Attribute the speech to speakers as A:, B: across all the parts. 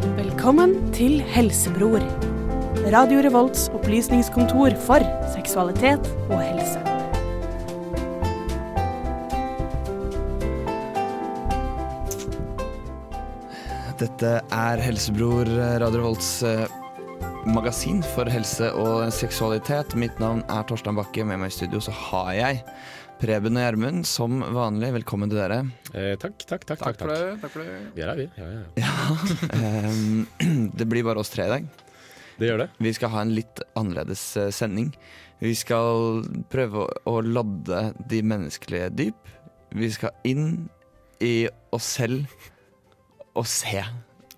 A: Velkommen til Helsebror. Radio Revolts opplysningskontor for seksualitet og helse.
B: Dette er Helsebror, eh, Radio Volts magasin for helse og seksualitet. Mitt navn er Torstein Bakke. Med meg i studio så har jeg Preben og Gjermund som vanlig. Velkommen til dere.
C: Eh, takk, takk, takk. takk,
D: Takk for
C: takk.
D: det. takk for det.
C: Vi er her, vi. Ja, ja, ja.
B: Ehm, Det blir bare oss tre i dag.
C: Det gjør det.
B: Vi skal ha en litt annerledes eh, sending. Vi skal prøve å- å ladde de menneskelige dyp. Vi skal inn i oss selv og se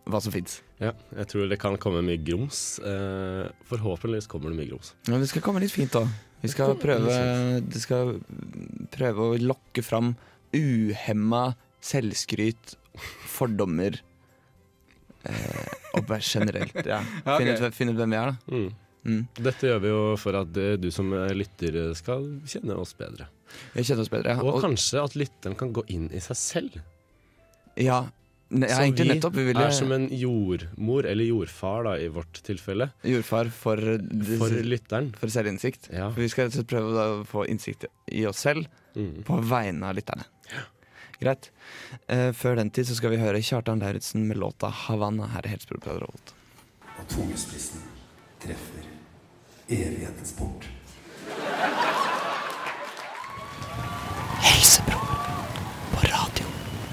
B: hva som fins.
C: Ja, jeg tror det kan komme mye grums. Eh, forhåpentligvis kommer det mye grums.
B: Men det skal komme litt fint òg. Vi skal prøve, det skal prøve å lokke fram uhemma selvskryt, fordommer eh, og bare generelt. Ja.
D: Ja, ok.
B: Finne, ut, hvem- finne ut hvem vi er, da.
C: Mm.
B: Mm.
C: Dette gjør vi jo for at eh, du som eh, lytter eh, skal kjenne oss bedre.
B: Jeg kjenner oss bedre. ja.
C: Og
B: Og,
C: kanskje at lytteren kan gå inn i seg selv.
B: ja, ne, ja,
C: Så
B: egentlig nettopp. Vi ville
C: er som en jordmor, eller jordfar da, i vårt tilfelle,
B: jordfar for,
C: for lytteren.
B: for selvinnsikt.
C: Ja.
B: For vi skal rett og slett prøve da å få innsikt i oss selv
C: Mm.
B: på vegne av lytterne. Greit. Eh, før den tid så skal vi høre Kjartan Lauritzen med låta 'Havanna' her i Helsebror på Radio Revolt.
E: og tungespissen treffer evighetens port.
B: Helsebror på Radio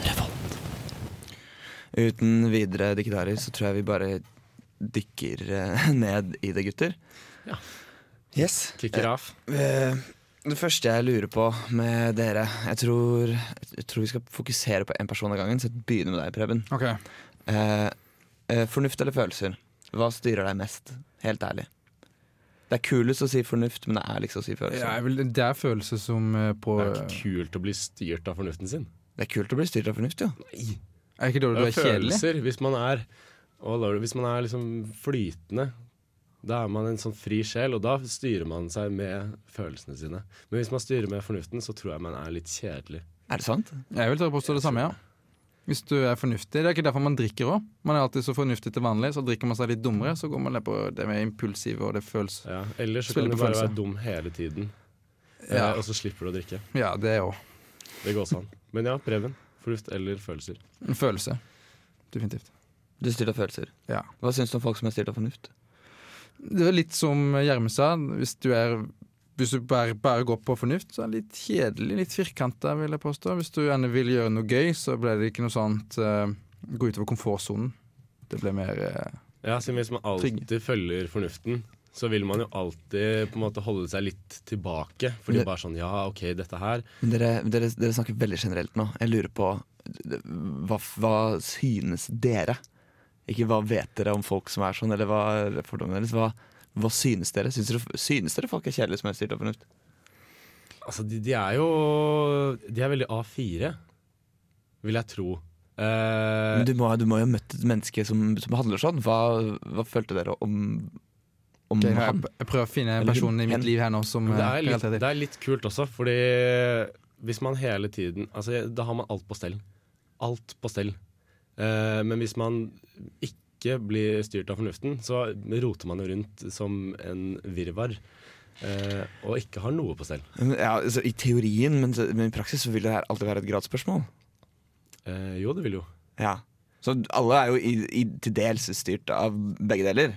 B: Revolt. Uten videre diktarer så tror jeg vi bare dykker eh, ned i det, gutter.
C: Ja.
B: Yes.
C: Kicker av.
B: Eh, Det første jeg lurer på med dere Jeg tror, jeg tror vi skal fokusere på én person av gangen, så jeg begynner med deg, Preben.
D: Ok.
B: Eh, eh, fornuft eller følelser? Hva styrer deg mest? Helt ærlig. Det er kulest å si fornuft, men det er liksom å si
D: Det
B: følelser.
D: er, vel, det er følelse som eh, på
C: Det er ikke
D: Er
C: kult å bli styrt av fornuften sin.
B: Det er kult å bli styrt av fornuft, jo.
C: Nei.
D: ikke
C: Det er
D: dårlig du er kjedelig?
C: følelser. Hvis man er, å, Lord, hvis man er liksom flytende, da er man en sånn fri sjel, og da styrer man seg med følelsene sine. Men hvis man styrer med fornuften, så tror jeg man er litt kjedelig.
B: Er det sant?
D: Jeg vil tørre påstå det samme, ja. Hvis du er fornuftig. Det er ikke derfor man drikker òg. Man er alltid så fornuftig til vanlig, så drikker man seg litt dummere, så går man ned på det med impulsive og det føles
C: Ja. Ellers så
D: Spiller
C: kan du
D: på
C: bare
D: følelser.
C: være dum hele tiden,
D: Ja.
C: eh, og så slipper du å drikke.
D: Ja, det òg.
C: Det går også an. Men ja, Preben. Fornuft eller følelser.
D: En følelse. Definitivt.
B: Du er styrt av følelser.
D: Ja.
B: Hva syns du om folk som er styrt av fornuft?
D: Det er litt som Gjermund sa. Hvis du, er, hvis du bare, bare går på fornuft, så er det litt kjedelig. Litt firkanta, vil jeg påstå. Hvis du gjerne vil gjøre noe gøy, så ble det ikke noe sånt eh, gå utover komfortsonen. Det ble mer eh,
C: Ja, siden hvis man alltid følger fornuften, så vil man jo alltid på en måte holde seg litt tilbake. Fordi
B: Det-
C: bare sånn Ja, OK, dette her.
B: Men Dere, dere, dere snakker veldig generelt nå. Jeg lurer på hva, hva synes dere? Ikke hva vet dere om folk som er sånn, eller hva er fordommene deres? Hva, hva synes dere? Synes dere? Synes dere folk er kjedelige som er styrt av fornuft?
C: Altså, de, de er jo De er veldig A4, vil jeg tro. Eh,
B: Men du må, du må jo ha møtt et menneske som, som handler sånn. Hva, hva følte dere om, om
C: Mm.
D: gøy. Jeg,
B: han?
D: jeg prøver å finne en
B: Eller hun.
D: person i
B: Hen.
D: mitt liv her nå som
C: men det,
D: eh,
C: er litt,
D: relaterer til.
C: det er litt kult også, fordi hvis man hele tiden Altså, da har man alt på stell. Alt på stell. Eh, men hvis man ikke blir styrt av fornuften, så roter man jo rundt som en virvar. eh, og ikke har noe på stell.
B: Ja, altså, I teorien, men, men i praksis så vil det her alltid være et gradsspørsmål.
C: Eh, jo, det vil jo.
B: Ja. Så alle er jo i, i, til dels styrt av begge deler.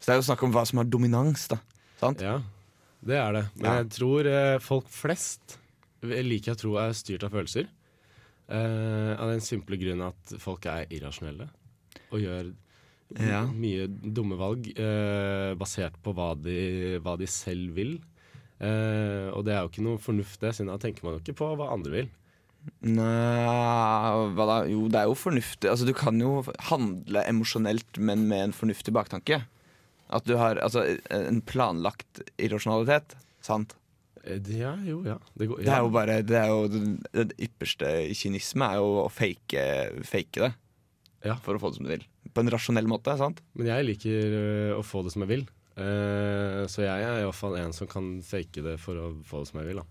B: Så det er jo snakk om hva som har dominans, da. Sant?
C: Ja, det er det. Men
B: Ja.
C: jeg tror eh, folk flest eh, liker jeg å tro er styrt av følelser. Eh, av den simple grunn at folk er irrasjonelle og gjør
B: Ja.
C: m- mye dumme valg eh, basert på hva de, hva de selv vil. Eh, og det er jo ikke noe fornuft det, siden da tenker man jo ikke på hva andre vil.
B: Nei, hva da? Jo, det er jo fornuftig. Altså, du kan jo handle emosjonelt, men med en fornuftig baktanke. At du har altså, en planlagt irrasjonalitet. Sant?
C: Eh, det- ja, jo, ja. Det, går,
B: Det
C: ja.
B: er jo bare Det er jo den- den ypperste kynisme er jo å fake, fake det.
C: Ja.
B: For å få det som du vil. På en rasjonell måte, sant?
C: Men jeg liker øh, å få det som jeg vil. Eh, så jeg er iallfall en som kan fake det for å få det som jeg vil. Da.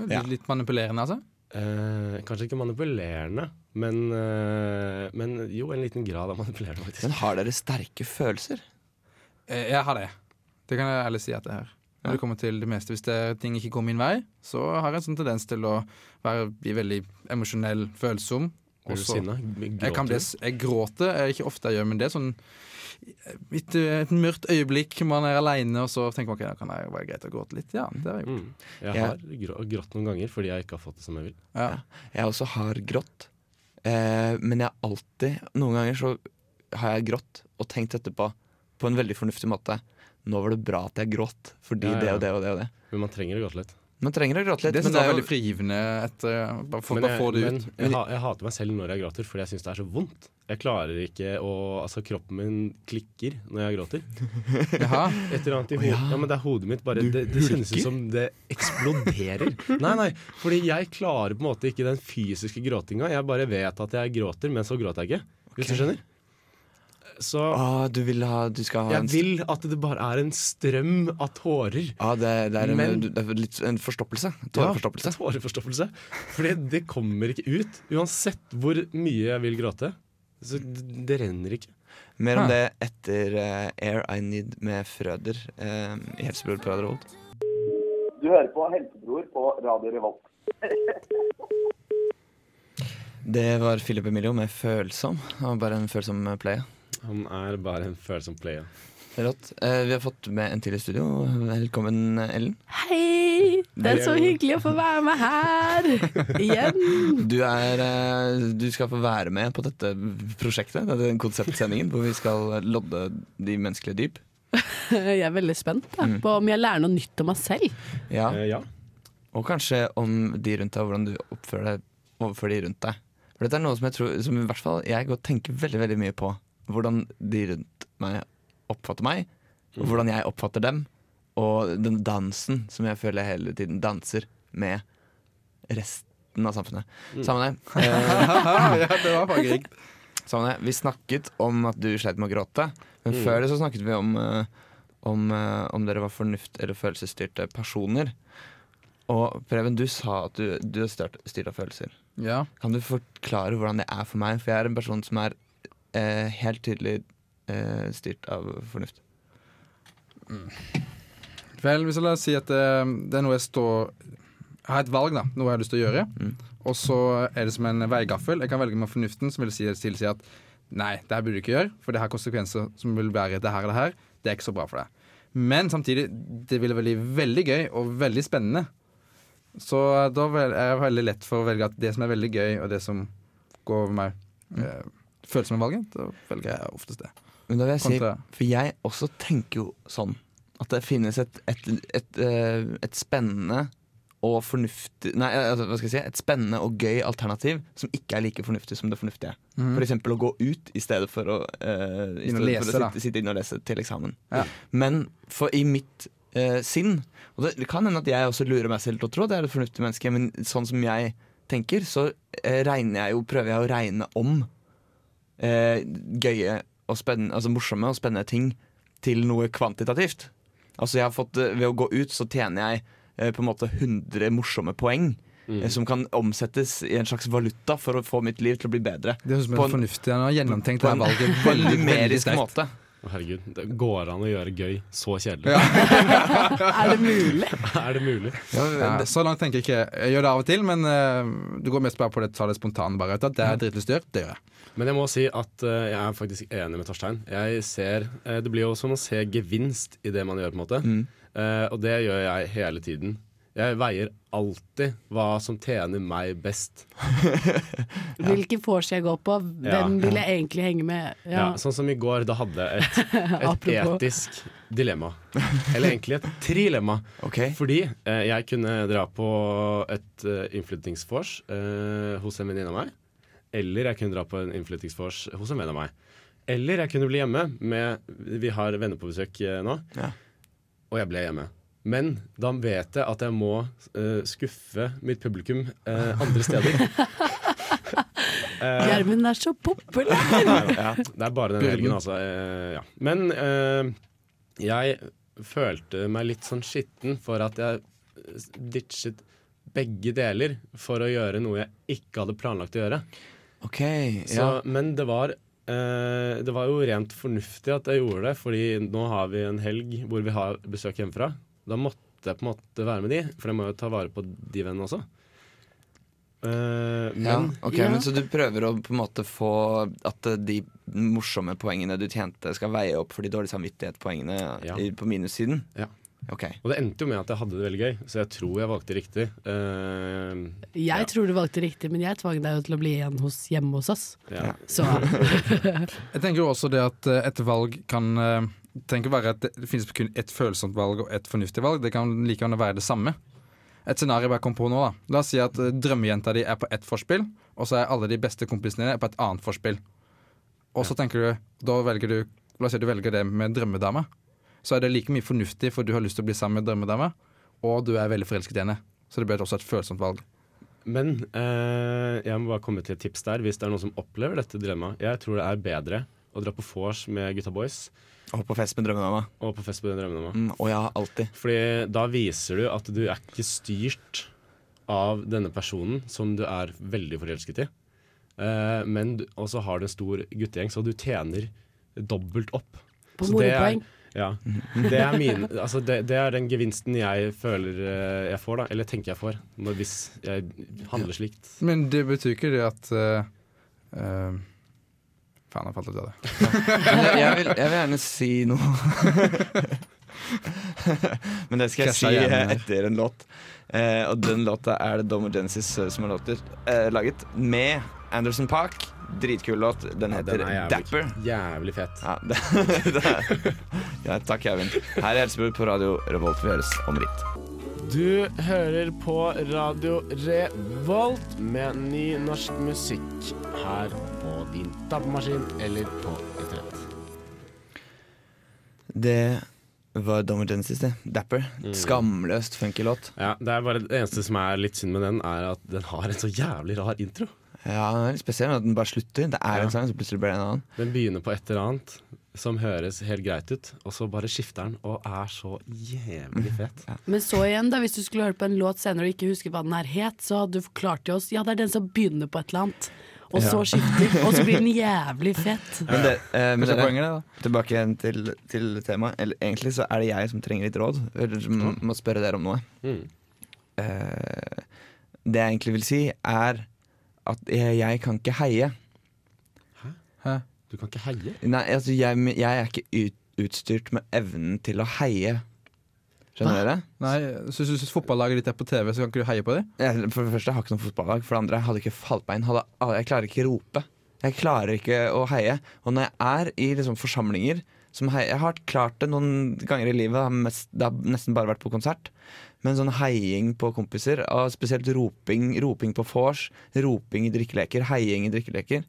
D: Det er
B: Ja.
D: Litt manipulerende, altså.
C: eh, Kanskje ikke manipulerende, men, eh, men jo, en liten grad av manipulerende, faktisk.
B: Men har dere sterke følelser?
D: Eh, Jeg har det. Det kan jeg ærlig si at jeg har. Når det kommer til det meste Hvis det er ting ikke går min vei, så har jeg en sånn tendens til å være bli veldig emosjonell, følsom. og
C: Blir du
D: så-
C: sinna?
D: Jeg, kan
C: Gråter
D: bli,
C: du?
D: s- jeg gråter. Jeg er ikke ofte jeg gjør, men det er sånn et, et mørkt øyeblikk. Man er aleine, og så tenker man ok, da kan jeg være greit å gråte litt. Ja, det har jeg gjort.
C: Mm. Jeg
B: Ja.
C: har grå- grått noen ganger fordi jeg ikke har fått det som jeg vil.
D: Ja.
B: Jeg også har grått. Eh, men jeg har alltid Noen ganger så har jeg grått og tenkt etterpå på en veldig fornuftig måte. Nå var det bra at jeg gråt, fordi
C: Ja, ja.
B: det og det og det og det.
C: Men man trenger å gråte litt.
B: Man trenger å gråte litt,
D: Det
B: men det
D: syns jeg
B: er
D: er
B: jo
D: veldig frigivende. Etter, eh, bare for,
C: Men
D: bare få det
C: jeg,
D: ut.
C: men jeg, ha- jeg hater meg selv når jeg gråter, fordi jeg syns det er så vondt. Jeg klarer ikke å Altså, kroppen min klikker når jeg gråter.
D: Jaha.
C: Et eller annet i hodet. Ja, men det er hodet mitt bare Det, det synes ut som det eksploderer. Nei, nei, fordi jeg klarer på en måte ikke den fysiske gråtinga. Jeg bare vet at jeg gråter, men så gråter jeg ikke. Hvis
B: Ok.
C: du skjønner? Så
B: Å, Ah, du vil ha Du skal ha
C: jeg
B: en
C: vil at det bare er en strøm av tårer.
B: Ja, det, det er en,
C: Men-
B: det er litt en forstoppelse.
C: Ja,
B: Tåreforstoppelse.
C: tåreforstoppelse. Fordi det kommer ikke ut. Uansett hvor mye jeg vil gråte. Så d- det renner ikke.
B: Mer
D: Hæ.
B: om det etter eh, Air I Need med Frøder eh, i Helsebror på Radio Revolt.
F: Du hører på Helsebror på Radio Revolt.
B: Det var Philip Emilio med 'Følsom'. Det var bare en følsom eh, play.
C: Han er bare en følsom player.
B: Rått. Eh, vi har fått med en til i studio. Velkommen, Ellen.
G: Hei! Det er så
C: Hei.
G: hyggelig å få være med her igjen.
B: Du, er, eh, du skal få være med på dette prosjektet, denne konseptsendingen, hvor vi skal lodde de menneskelige dyp.
G: Jeg er veldig spent da,
B: Mm.
G: på om jeg lærer noe nytt om meg selv.
B: Ja,
C: Eh, ja.
B: Og kanskje om de rundt deg, hvordan du oppfører deg overfor de rundt deg. For dette er noe som jeg tror Som i hvert fall jeg går og tenker veldig veldig mye på. Hvordan de rundt meg oppfatter meg, og hvordan jeg oppfatter dem. Og den dansen som jeg føler jeg hele tiden danser med resten av samfunnet. Sammen med deg. Eh,
D: Ah, ja, det var fargerikt.
B: Sammen med deg. Vi snakket om at du sleit med å gråte, men før det så snakket vi om eh, om, eh, om dere var fornuft- eller følelsesstyrte personer. Og Preben, du sa at du, du er styrt, styrt av følelser.
D: Ja.
B: Kan du forklare hvordan det er for meg? For jeg er en person som er eh, helt tydelig eh, styrt av fornuft.
D: Vel, hvis jeg la oss si at det, det er noe jeg står Jeg har et valg, da. Noe jeg har lyst til å gjøre. Og så er det som en veigaffel. Jeg kan velge med fornuften, som vil si, tilsi at nei, det her burde du ikke gjøre, for det har konsekvenser som vil være det her og det her. Det er ikke så bra for deg. Men samtidig, det ville bli veldig gøy og veldig spennende. Så eh, da vel- er det veldig lett for å velge at det som er veldig gøy, og det som går over meg, eh, føles som en valg, da velger jeg oftest det.
B: Men da vil jeg si,
D: Kontra-
B: For jeg også tenker jo sånn at det finnes et, et, et, eh, et spennende og fornuftig Nei, altså, hva skal jeg si? Et spennende og gøy alternativ som ikke er like fornuftig som det fornuftige. For eksempel å gå ut i stedet for å, eh, i
D: Mhm. Inn og
B: stedet
D: lese,
B: for å
D: da.
B: sitte, sitte inne og lese til eksamen.
D: Ja.
B: Men for i mitt eh, sinn Og det kan hende at jeg også lurer meg selv til å tro at jeg er et fornuftig menneske, men sånn som jeg tenker, så eh, regner jeg jo, prøver jeg å regne om eh, gøye og spennende, altså morsomme og spennende ting til noe kvantitativt. Altså jeg har fått, eh, Ved å gå ut så tjener jeg eh, på en måte 100 morsomme poeng. eh, Som kan omsettes i en slags valuta for å få mitt liv til å bli bedre.
D: Det høres ut som
B: På
D: en
B: en-
D: fornuftig og gjennomtenkt
B: På en
D: valg. Veldig, veldig
B: numerisk
D: sterkt.
B: måte.
C: Å, Herregud, det går an å gjøre gøy så kjedelig.
G: Er det mulig?
C: er det mulig?
D: Ja, så langt tenker jeg ikke. Jeg gjør det av og til, men eh, du går mest bare på det, ta det spontane. bare ut, at Det er dritlyst å gjøre. Det gjør jeg.
C: Men jeg må si at eh, jeg er faktisk enig med Torstein. Jeg ser, eh, det blir jo som å se gevinst i det man gjør, på en måte. Eh, og det gjør jeg hele tiden. Jeg veier alltid hva som tjener meg best.
G: Hvilke vors jeg går på, hvem
C: Ja.
G: vil jeg egentlig henge med? Ja.
C: Ja, sånn som i går, da hadde jeg et, et
G: Apropos.
C: etisk dilemma. Eller egentlig et trilemma.
B: Ok.
C: Fordi eh, jeg kunne dra på et eh, innflyttingsvors eh, hos en venninne av meg. Eller jeg kunne dra på en innflyttingsvors hos en venn av meg. Eller jeg kunne bli hjemme med Vi har venner på besøk eh, nå.
B: Ja.
C: Og jeg ble hjemme. Men da vet jeg at jeg må eh, skuffe mitt publikum eh, andre steder. Eh,
G: Gjermund er så populær!
C: det er bare den
D: Byrden.
C: helgen, altså. eh, ja. Men eh, jeg følte meg litt sånn skitten for at jeg eh, ditchet begge deler for å gjøre noe jeg ikke hadde planlagt å gjøre.
B: Ok,
C: Så,
B: ja.
C: Men det var, eh, det var jo rent fornuftig at jeg gjorde det, fordi nå har vi en helg hvor vi har besøk hjemmefra. Da måtte jeg på en måte være med de, for jeg må jo ta vare på de vennene også. Eh, men
B: Ja, ok,
G: Ja.
B: men Så du prøver å på en måte få at eh, de morsomme poengene du tjente, skal veie opp for de dårlige samvittighetspoengene
C: Ja.
B: i- på minussiden?
C: Ja.
B: Ok.
C: Og det endte jo med at jeg hadde det veldig gøy, så jeg tror jeg valgte riktig. Eh,
G: Jeg tror du valgte riktig, men jeg tvang deg jo til å bli igjen hos, hjemme hos oss.
C: ja.
G: Så
D: Jeg tenker jo også det at eh, et valg kan eh, tenk å være at Det finnes kun ett følsomt valg og ett fornuftig valg. Det kan like gjerne være det samme. Et scenario jeg bare kom på nå da La oss si at eh, drømmejenta di er på ett forspill, og så er alle de beste kompisene dine på et annet forspill. Og så tenker du Da velger du La oss si du velger det med drømmedama. Så er det like mye fornuftig, for du har lyst til å bli sammen med drømmedama, og du er veldig forelsket i henne. Så det blir også et følsomt valg.
C: Men eh, jeg må bare komme til et tips der, hvis det er noen som opplever dette dilemmaet. Jeg tror det er bedre å dra på vors med gutta boys
B: Og på fest med drømmedama.
C: og på fest med den drømmen om.
B: Mm, og ja, alltid.
C: Fordi da viser du at du er ikke styrt av denne personen som du er veldig forelsket i. Eh, men du- Og så har du en stor guttegjeng, så du tjener dobbelt opp.
G: på
C: Så det er-
G: moropoeng.
C: Ja. Det er, min, altså det, det er den gevinsten jeg føler eh, jeg får, da. Eller tenker jeg får, når, hvis jeg handler slikt.
D: Men det betyr ikke det at eh, eh, Faen, jeg falt ut av det.
B: Men jeg, jeg, vil, jeg vil gjerne si noe. Men det skal jeg
D: Krasja
B: si eh,
D: hjernen her.
B: etter en låt. Eh, og den låta er det Dom og Genesis eh, som har låter, eh, laget. Med Anderson Park. Dritkul låt. Den
C: Ja,
B: heter
C: den er
B: Dapper.
C: jævlig, jævlig fet.
B: Ja, det, det er. Ja, takk, Eivind. Her er Helsebord på radio Revolt. Vi høres om litt.
H: Du hører på Radio Revolt med ny norsk musikk her på din tappemaskin eller på retrett.
B: Det var Dom og Genesis, det. Dapper.
D: Mm.
B: Skamløst funky låt.
C: Ja, det, er bare, det eneste som er litt synd med den, er at den har en så jævlig rar intro.
B: Ja, den er litt spesiell, men at den bare slutter. Det er en sang, så plutselig blir det en annen.
C: Den begynner på et eller annet som høres helt greit ut, og så bare skifter den og er så
B: Mhm.
C: jævlig fet.
G: Men så igjen, da, hvis du skulle hørt på en låt senere og ikke husker hva den her het, så hadde du forklart til oss ja, det er den som begynner på et eller annet, og så skifter, og så blir den jævlig fett.
B: Men, det, eh, men
D: Kanskje
B: dere,
D: poenget er det, da.
B: tilbake igjen til, til temaet. Eller, egentlig så er det jeg som trenger litt råd, eller som må spørre dere om noe.
C: Mm.
B: Eh, det jeg egentlig vil si, er at jeg, jeg kan ikke heie.
C: Du kan ikke heie.
B: Nei, altså, jeg, jeg er ikke ut, utstyrt med evnen til å heie. Skjønner dere?
D: Nei, så Hvis du syns fotballaget ditt er på TV, så kan ikke du heie på dem?
B: Jeg, for det første, jeg har ikke noe fotballag. For det andre, jeg hadde ikke falt meg inn. Hadde, al- jeg klarer ikke rope. Jeg klarer ikke å heie. Og når jeg er i liksom, forsamlinger som heier Jeg har klart det noen ganger i livet. har Mest, det har nesten bare vært på konsert. Men sånn heiing på kompiser, og spesielt roping, roping på vors, roping i drikkeleker, heiing i drikkeleker.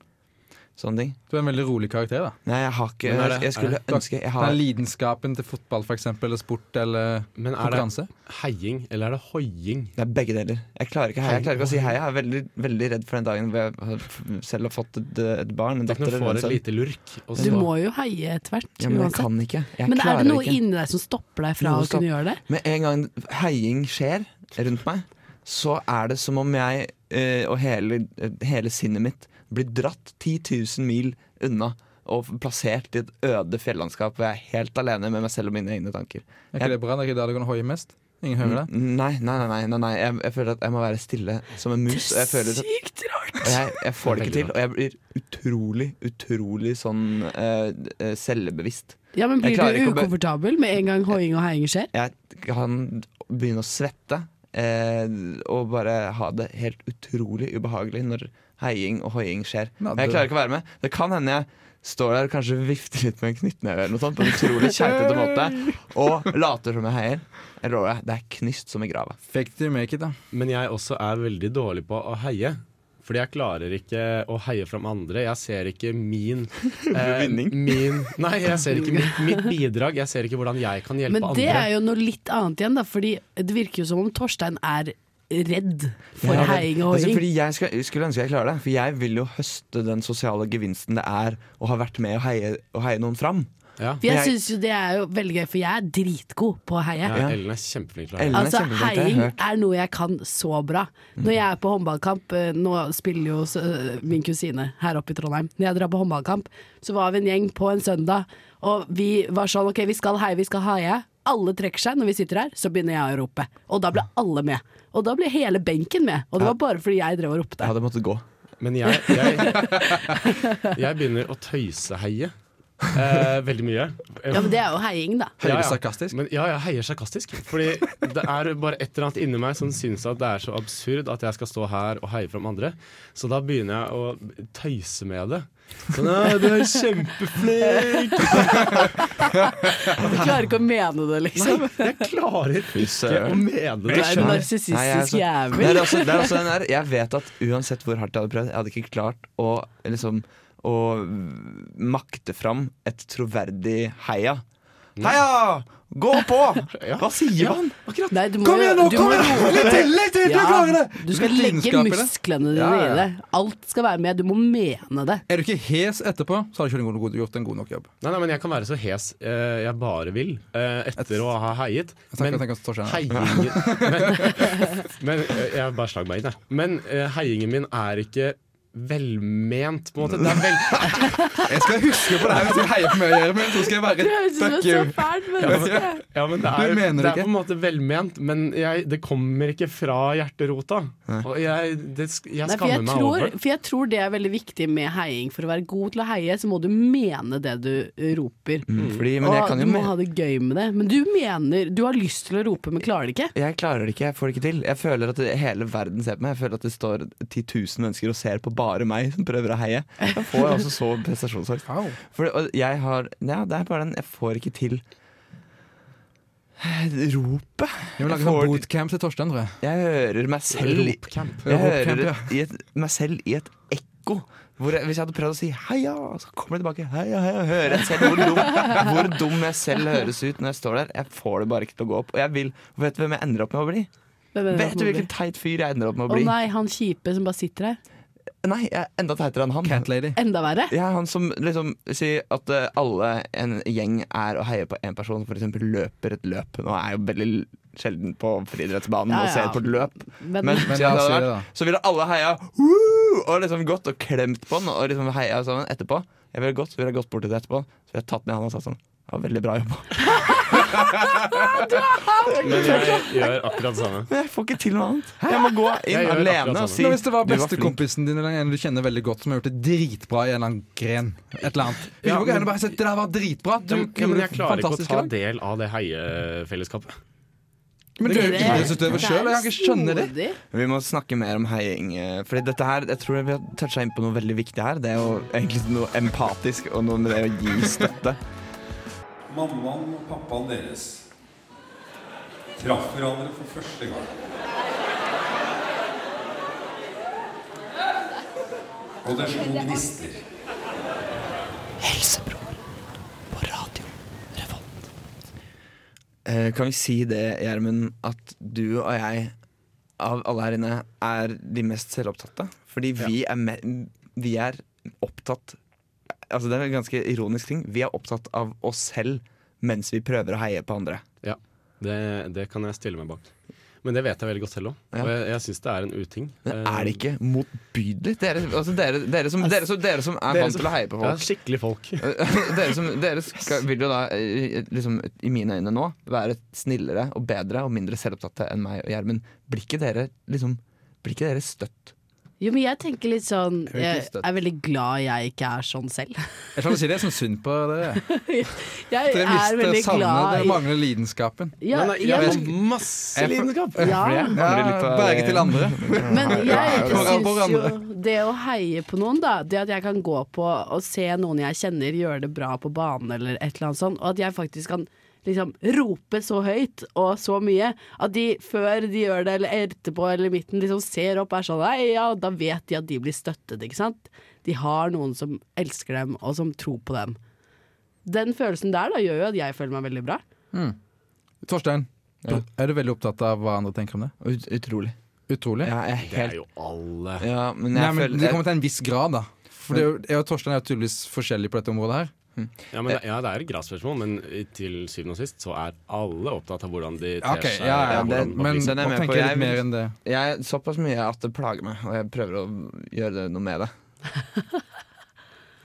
B: Sånne ting.
D: Du er en veldig rolig karakter, da.
B: Nei, jeg har ikke
C: Men er det-
B: Jeg skulle
C: er
D: Du har-
B: ønske jeg har,
D: Den lidenskapen til fotball, for eksempel, eller sport eller
C: Men er det
D: konkurranse.
C: heiing, eller er det hoiing?
B: Det er begge deler. Jeg klarer ikke, å heie. jeg klarer ikke å si hei. Jeg er veldig, veldig redd for den dagen hvor jeg har f- selv har fått et, et barn. En
C: Tenk når
B: datter
C: du
B: eller
C: får
B: en
C: et
B: sønn.
C: lite lurk, og
G: Du
C: så
G: må jo heie etter hvert,
B: Ja, men jeg
G: uansett.
B: kan ikke. Jeg
G: Men er
B: klarer
G: det noe
B: ikke.
G: inni deg som stopper deg fra
B: Noe
G: å
B: stopp-
G: kunne gjøre det?
B: Med en gang heiing skjer rundt meg, så er det som om jeg eh, og hele, hele sinnet mitt blir dratt 10 000 mil unna og plassert i et øde fjellandskap hvor jeg er helt alene med meg selv og mine egne tanker.
D: Er ikke det bra? Det er ikke der du kan hoie mest? Ingen hører det?
B: Nei, nei, nei, nei, nei, nei. Jeg, jeg føler at jeg må være stille som en mus. Og jeg, føler, at-
G: Sykt rart!
B: og jeg, jeg får det ikke
C: Veldig
B: til, og jeg blir utrolig, utrolig sånn eh, eh, selvbevisst.
G: Ja, men
B: Jeg
G: Blir
B: klarer
G: du
B: ikke å be-
G: ukomfortabel med en gang hoiing og heiing skjer?
B: jeg kan begynne å svette eh, og bare ha det helt utrolig ubehagelig når heiing og hoiing skjer.
D: Nei,
B: Men jeg
D: det-
B: klarer ikke å være med. Det kan hende jeg står der og kanskje vifter litt med en knyttneve eller noe sånt på en utrolig keitete måte og later som jeg heier. Jeg lover deg, det er knyst som i grava.
D: Fake it, you make it, da.
C: Men jeg også er veldig dårlig på å heie. Fordi jeg klarer ikke å heie fram andre. Jeg ser ikke min eh,
B: Vinning.
C: Min, nei, jeg ser ikke mitt, mitt bidrag. Jeg ser ikke hvordan jeg kan hjelpe
G: Men det
C: andre.
G: er jo noe litt annet igjen, da, fordi det virker jo som om Torstein er redd for
B: Ja, det-
G: heiing og
B: altså,
G: hoiing.
B: Fordi jeg skal, skulle ønske jeg klarte det. For jeg vil jo høste den sosiale gevinsten det er å ha vært med og heie, og heie noen fram.
C: Ja.
G: For jeg
B: Men jeg-
G: syns jo det er jo veldig gøy, for jeg er dritgod på å heie.
C: Ja, Ellen er kjempeflink til å
B: Ellen
C: heie.
B: er
G: Altså,
B: kjempeflink, det har jeg
G: heiing
B: hørt.
G: er noe jeg kan så bra. Når jeg er på håndballkamp eh, Nå spiller jo eh, min kusine her oppe i Trondheim. Når jeg drar på håndballkamp, så var vi en gjeng på en søndag, og vi var sånn OK, vi skal heie, vi skal heie. Alle trekker seg når vi sitter her, så begynner jeg å rope. Og da ble alle med. Og da ble hele benken med. Og det var bare fordi jeg drev og
B: Jeg
G: ropte.
B: hadde måttet gå.
C: Men jeg, jeg, jeg begynner å tøyseheie eh, veldig mye.
G: Ja, men det er jo heiing, da.
D: Høyre
C: Ja, ja.
D: sarkastisk.
C: Men, ja, jeg heier sarkastisk. Fordi det er bare et eller annet inni meg som syns at det er så absurd at jeg skal stå her og heie fram andre. Så da begynner jeg å tøyse med det. Sånn, «Nei, du er kjempeflink!
G: Du klarer ikke å mene det, liksom.
C: Jeg klarer ikke å mene
G: Du
C: det.
G: er sånn- en narsissistisk
B: Det
G: jævel.
B: er også, det er også den der, jeg vet at uansett hvor hardt jeg hadde prøvd, jeg hadde ikke klart å, liksom, å makte fram et troverdig heia. Heia! Gå på! Hva sier man?
G: Nei, du må
B: Kom
G: jo-
B: igjen nå!
G: du
B: Kom
G: må
B: igjen!
G: jo-
B: Litt til! Litt til! Du klarer det!
G: Du skal
D: Litt
G: legge
D: lidenskap i det.
G: musklene dine
B: Ja, ja,
G: i det. Alt skal være med. Du må mene det.
D: Er du ikke hes etterpå, så har du ikke gjort en god- gjort en god nok jobb.
C: Nei, nei, men jeg kan være så hes eh, jeg bare vil eh, etter å ha heiet.
D: Jeg tenker,
C: Men
D: jeg tenker at det står seg.
C: Heiingen men, men Jeg bare slag meg inn, jeg. Men eh, heiingen min er ikke velment, på en måte. Det er vel,
D: Jeg skal huske på det her hvis jeg heier på meg, Gjermund. Så skal jeg være Fuck you.
G: fælt
C: ja, men det er,
D: Du mener
C: det er
D: ikke.
C: på en måte velment, men jeg, det kommer ikke fra hjerterota. Og jeg, det, sk- jeg
G: Nei, for, jeg
C: skammer meg
G: tror,
C: over det.
G: for jeg tror det er veldig viktig med heiing. For å være god til å heie, så må du mene det du eh, roper.
B: Mm, Fordi, men jeg
G: og
B: kan
G: du
B: jo
G: må
B: me-
G: ha det gøy med det. Men du mener Du har lyst til å rope, men klarer det ikke.
B: jeg klarer det ikke. Jeg får det ikke til. Jeg føler at det, hele verden ser på meg. Jeg føler at det står 10 000 mennesker og ser på bare meg som prøver å heie. Da får jeg også så prestasjonsangst.
D: Au.
B: For og jeg har Ja, det er bare den Jeg får ikke til ropet.
D: Jeg vil lage
B: Får
D: sånn
B: de-
D: bootcamp til Torstein, tror jeg.
B: Jeg hører meg selv i-
C: Ropcamp.
B: Jeg
D: Ropcamp,
B: hører
D: ja.
B: i et, meg selv i et ekko. Hvor jeg, hvis jeg hadde prøvd å si heia, så kommer det tilbake. Heia, heia, hører jeg selv hvor dum, hvor dum jeg selv høres ut når jeg står der. Jeg får det bare ikke til å gå opp. Og jeg vil, vet du hvem jeg ender opp med å bli?
G: Hvem er det
B: Vet
G: som
B: du
G: blir?
B: hvilken teit fyr jeg ender opp med å
G: Å
B: bli?
G: nei, han kjipe som bare sitter her.
B: Nei, jeg er enda teitere enn han.
D: Cat lady.
G: Enda verre.
B: Jeg er han som liksom sier at eh, alle en gjeng er å heie på én person, f.eks. løper et løp. Nå er jeg jo veldig l- sjelden på friidrettsbanen
G: Ja,
B: og ser
G: ja.
B: på et løp,
G: Men,
B: men,
D: Men
B: hvis jeg hadde
D: la oss si det,
B: vært, så ville alle heia «Woo!» og liksom gått og klemt på den og liksom heia sammen etterpå. Jeg ville gått, så ville jeg gått bort til det etterpå, så ville jeg tatt ned han og sagt sånn det var veldig bra jobba.
C: Men jeg gjør akkurat det samme.
B: Men jeg får ikke til noe annet. Jeg må gå
C: Jeg
B: inn
C: gjør akkurat
B: alene og
C: samme.
B: si
D: Men hvis det var
B: «Du flink».
D: bestekompisen din eller en du kjenner veldig godt, som har gjort det dritbra i en eller annen gren, et eller annet Vil
C: Ja,
D: du ikke gjerne bare si at det der var dritbra? Du
C: Ja, men, ja, men
D: gjorde
C: jeg klarer ikke å
D: fantastisk i
C: ta
D: dag».
C: del av det heiefellesskapet.
D: Men du er jo
G: Det-
D: idrettsutøver
G: det er
D: sjøl, jeg kan ikke skjønne det.
G: snodig.
B: Vi må snakke mer om heiing. eh, Fordi dette her, jeg tror vi har toucha inn på noe veldig viktig her. Det er jo egentlig noe empatisk og noe med det å gi støtte.
E: Mammaen og pappaen deres traff hverandre for første gang. Og det slo gnister.
B: Eh, Kan vi si det, Gjermund, at du og jeg av alle her inne er de mest selvopptatte? Fordi vi er, me vi er opptatt Altså Det er en ganske ironisk ting. Vi er opptatt av oss selv mens vi prøver å heie på andre.
C: Ja, det, det kan jeg stille meg bak. Men det vet jeg veldig godt selv òg.
B: Ja.
C: Og jeg, jeg syns det er en uting.
B: Men er
C: Eh,
B: det ikke motbydelig? Dere, altså dere, dere, som, dere, som, dere som er
C: Dere
B: vant
C: som-
B: til å heie på
C: Eh, Ja,
B: folk.
C: skikkelig folk.
B: dere, som, dere skal, vil jo da, eh, liksom, i mine øyne nå, være snillere og bedre og mindre selvopptatte enn meg og Gjermund. Blir ikke dere liksom Blir ikke dere støtt?
G: Jo, men jeg tenker litt sånn
D: vil ikke
G: Jeg
D: støtte.
G: er veldig glad jeg ikke er sånn selv.
D: Jeg kan si det, jeg er sånn synd på dere.
G: Jeg
D: Dere
G: er
D: mister
G: veldig
D: savnet,
G: glad
D: dere
G: i
D: mangler lidenskapen.
G: ja,
C: Nei, nei,
G: jeg,
C: jeg har masse lidenskap.
G: ja,
B: Mangler litt av-
D: Berge til andre.
G: men jeg
D: For- for
G: syns jo
D: hverandre.
G: det å heie på noen, da Det at jeg kan gå på og se noen jeg kjenner gjøre det bra på banen eller et eller annet sånt, og at jeg faktisk kan liksom rope så høyt og så mye at de før de gjør det eller etterpå eller i midten liksom ser opp og er sånn Nei, ja, da vet de at de blir støttet, ikke sant? De har noen som elsker dem og som tror på dem. Den følelsen der da gjør jo at jeg føler meg veldig bra.
D: Torstein,
B: Ja.
D: er du veldig opptatt av hva andre tenker om det?
B: Ut, utrolig.
D: Utrolig.
B: Ja, jeg er
C: Det er
B: helt
C: jo alle.
B: ja, men
D: Nei,
B: jeg
D: men
B: føler
D: Det kommer til en viss grad, da. For det er jo, jeg og Torstein er jo tydeligvis forskjellige på dette området her.
C: Ja,
G: Eh.
C: men, det- ja, det er et grasspørsmål, men i- til syvende og sist så er alle opptatt av hvordan de ter
D: Ok,
C: seg.
D: ja, ja,
C: og
B: det-
C: hvordan man
D: Men
C: blir-
B: Den er
D: nå
B: jeg med på.
D: tenker jeg
B: Jeg
D: litt mer
B: vil-
D: enn det.
B: Jeg, såpass mye at det plager meg, og jeg prøver å gjøre det- noe med det.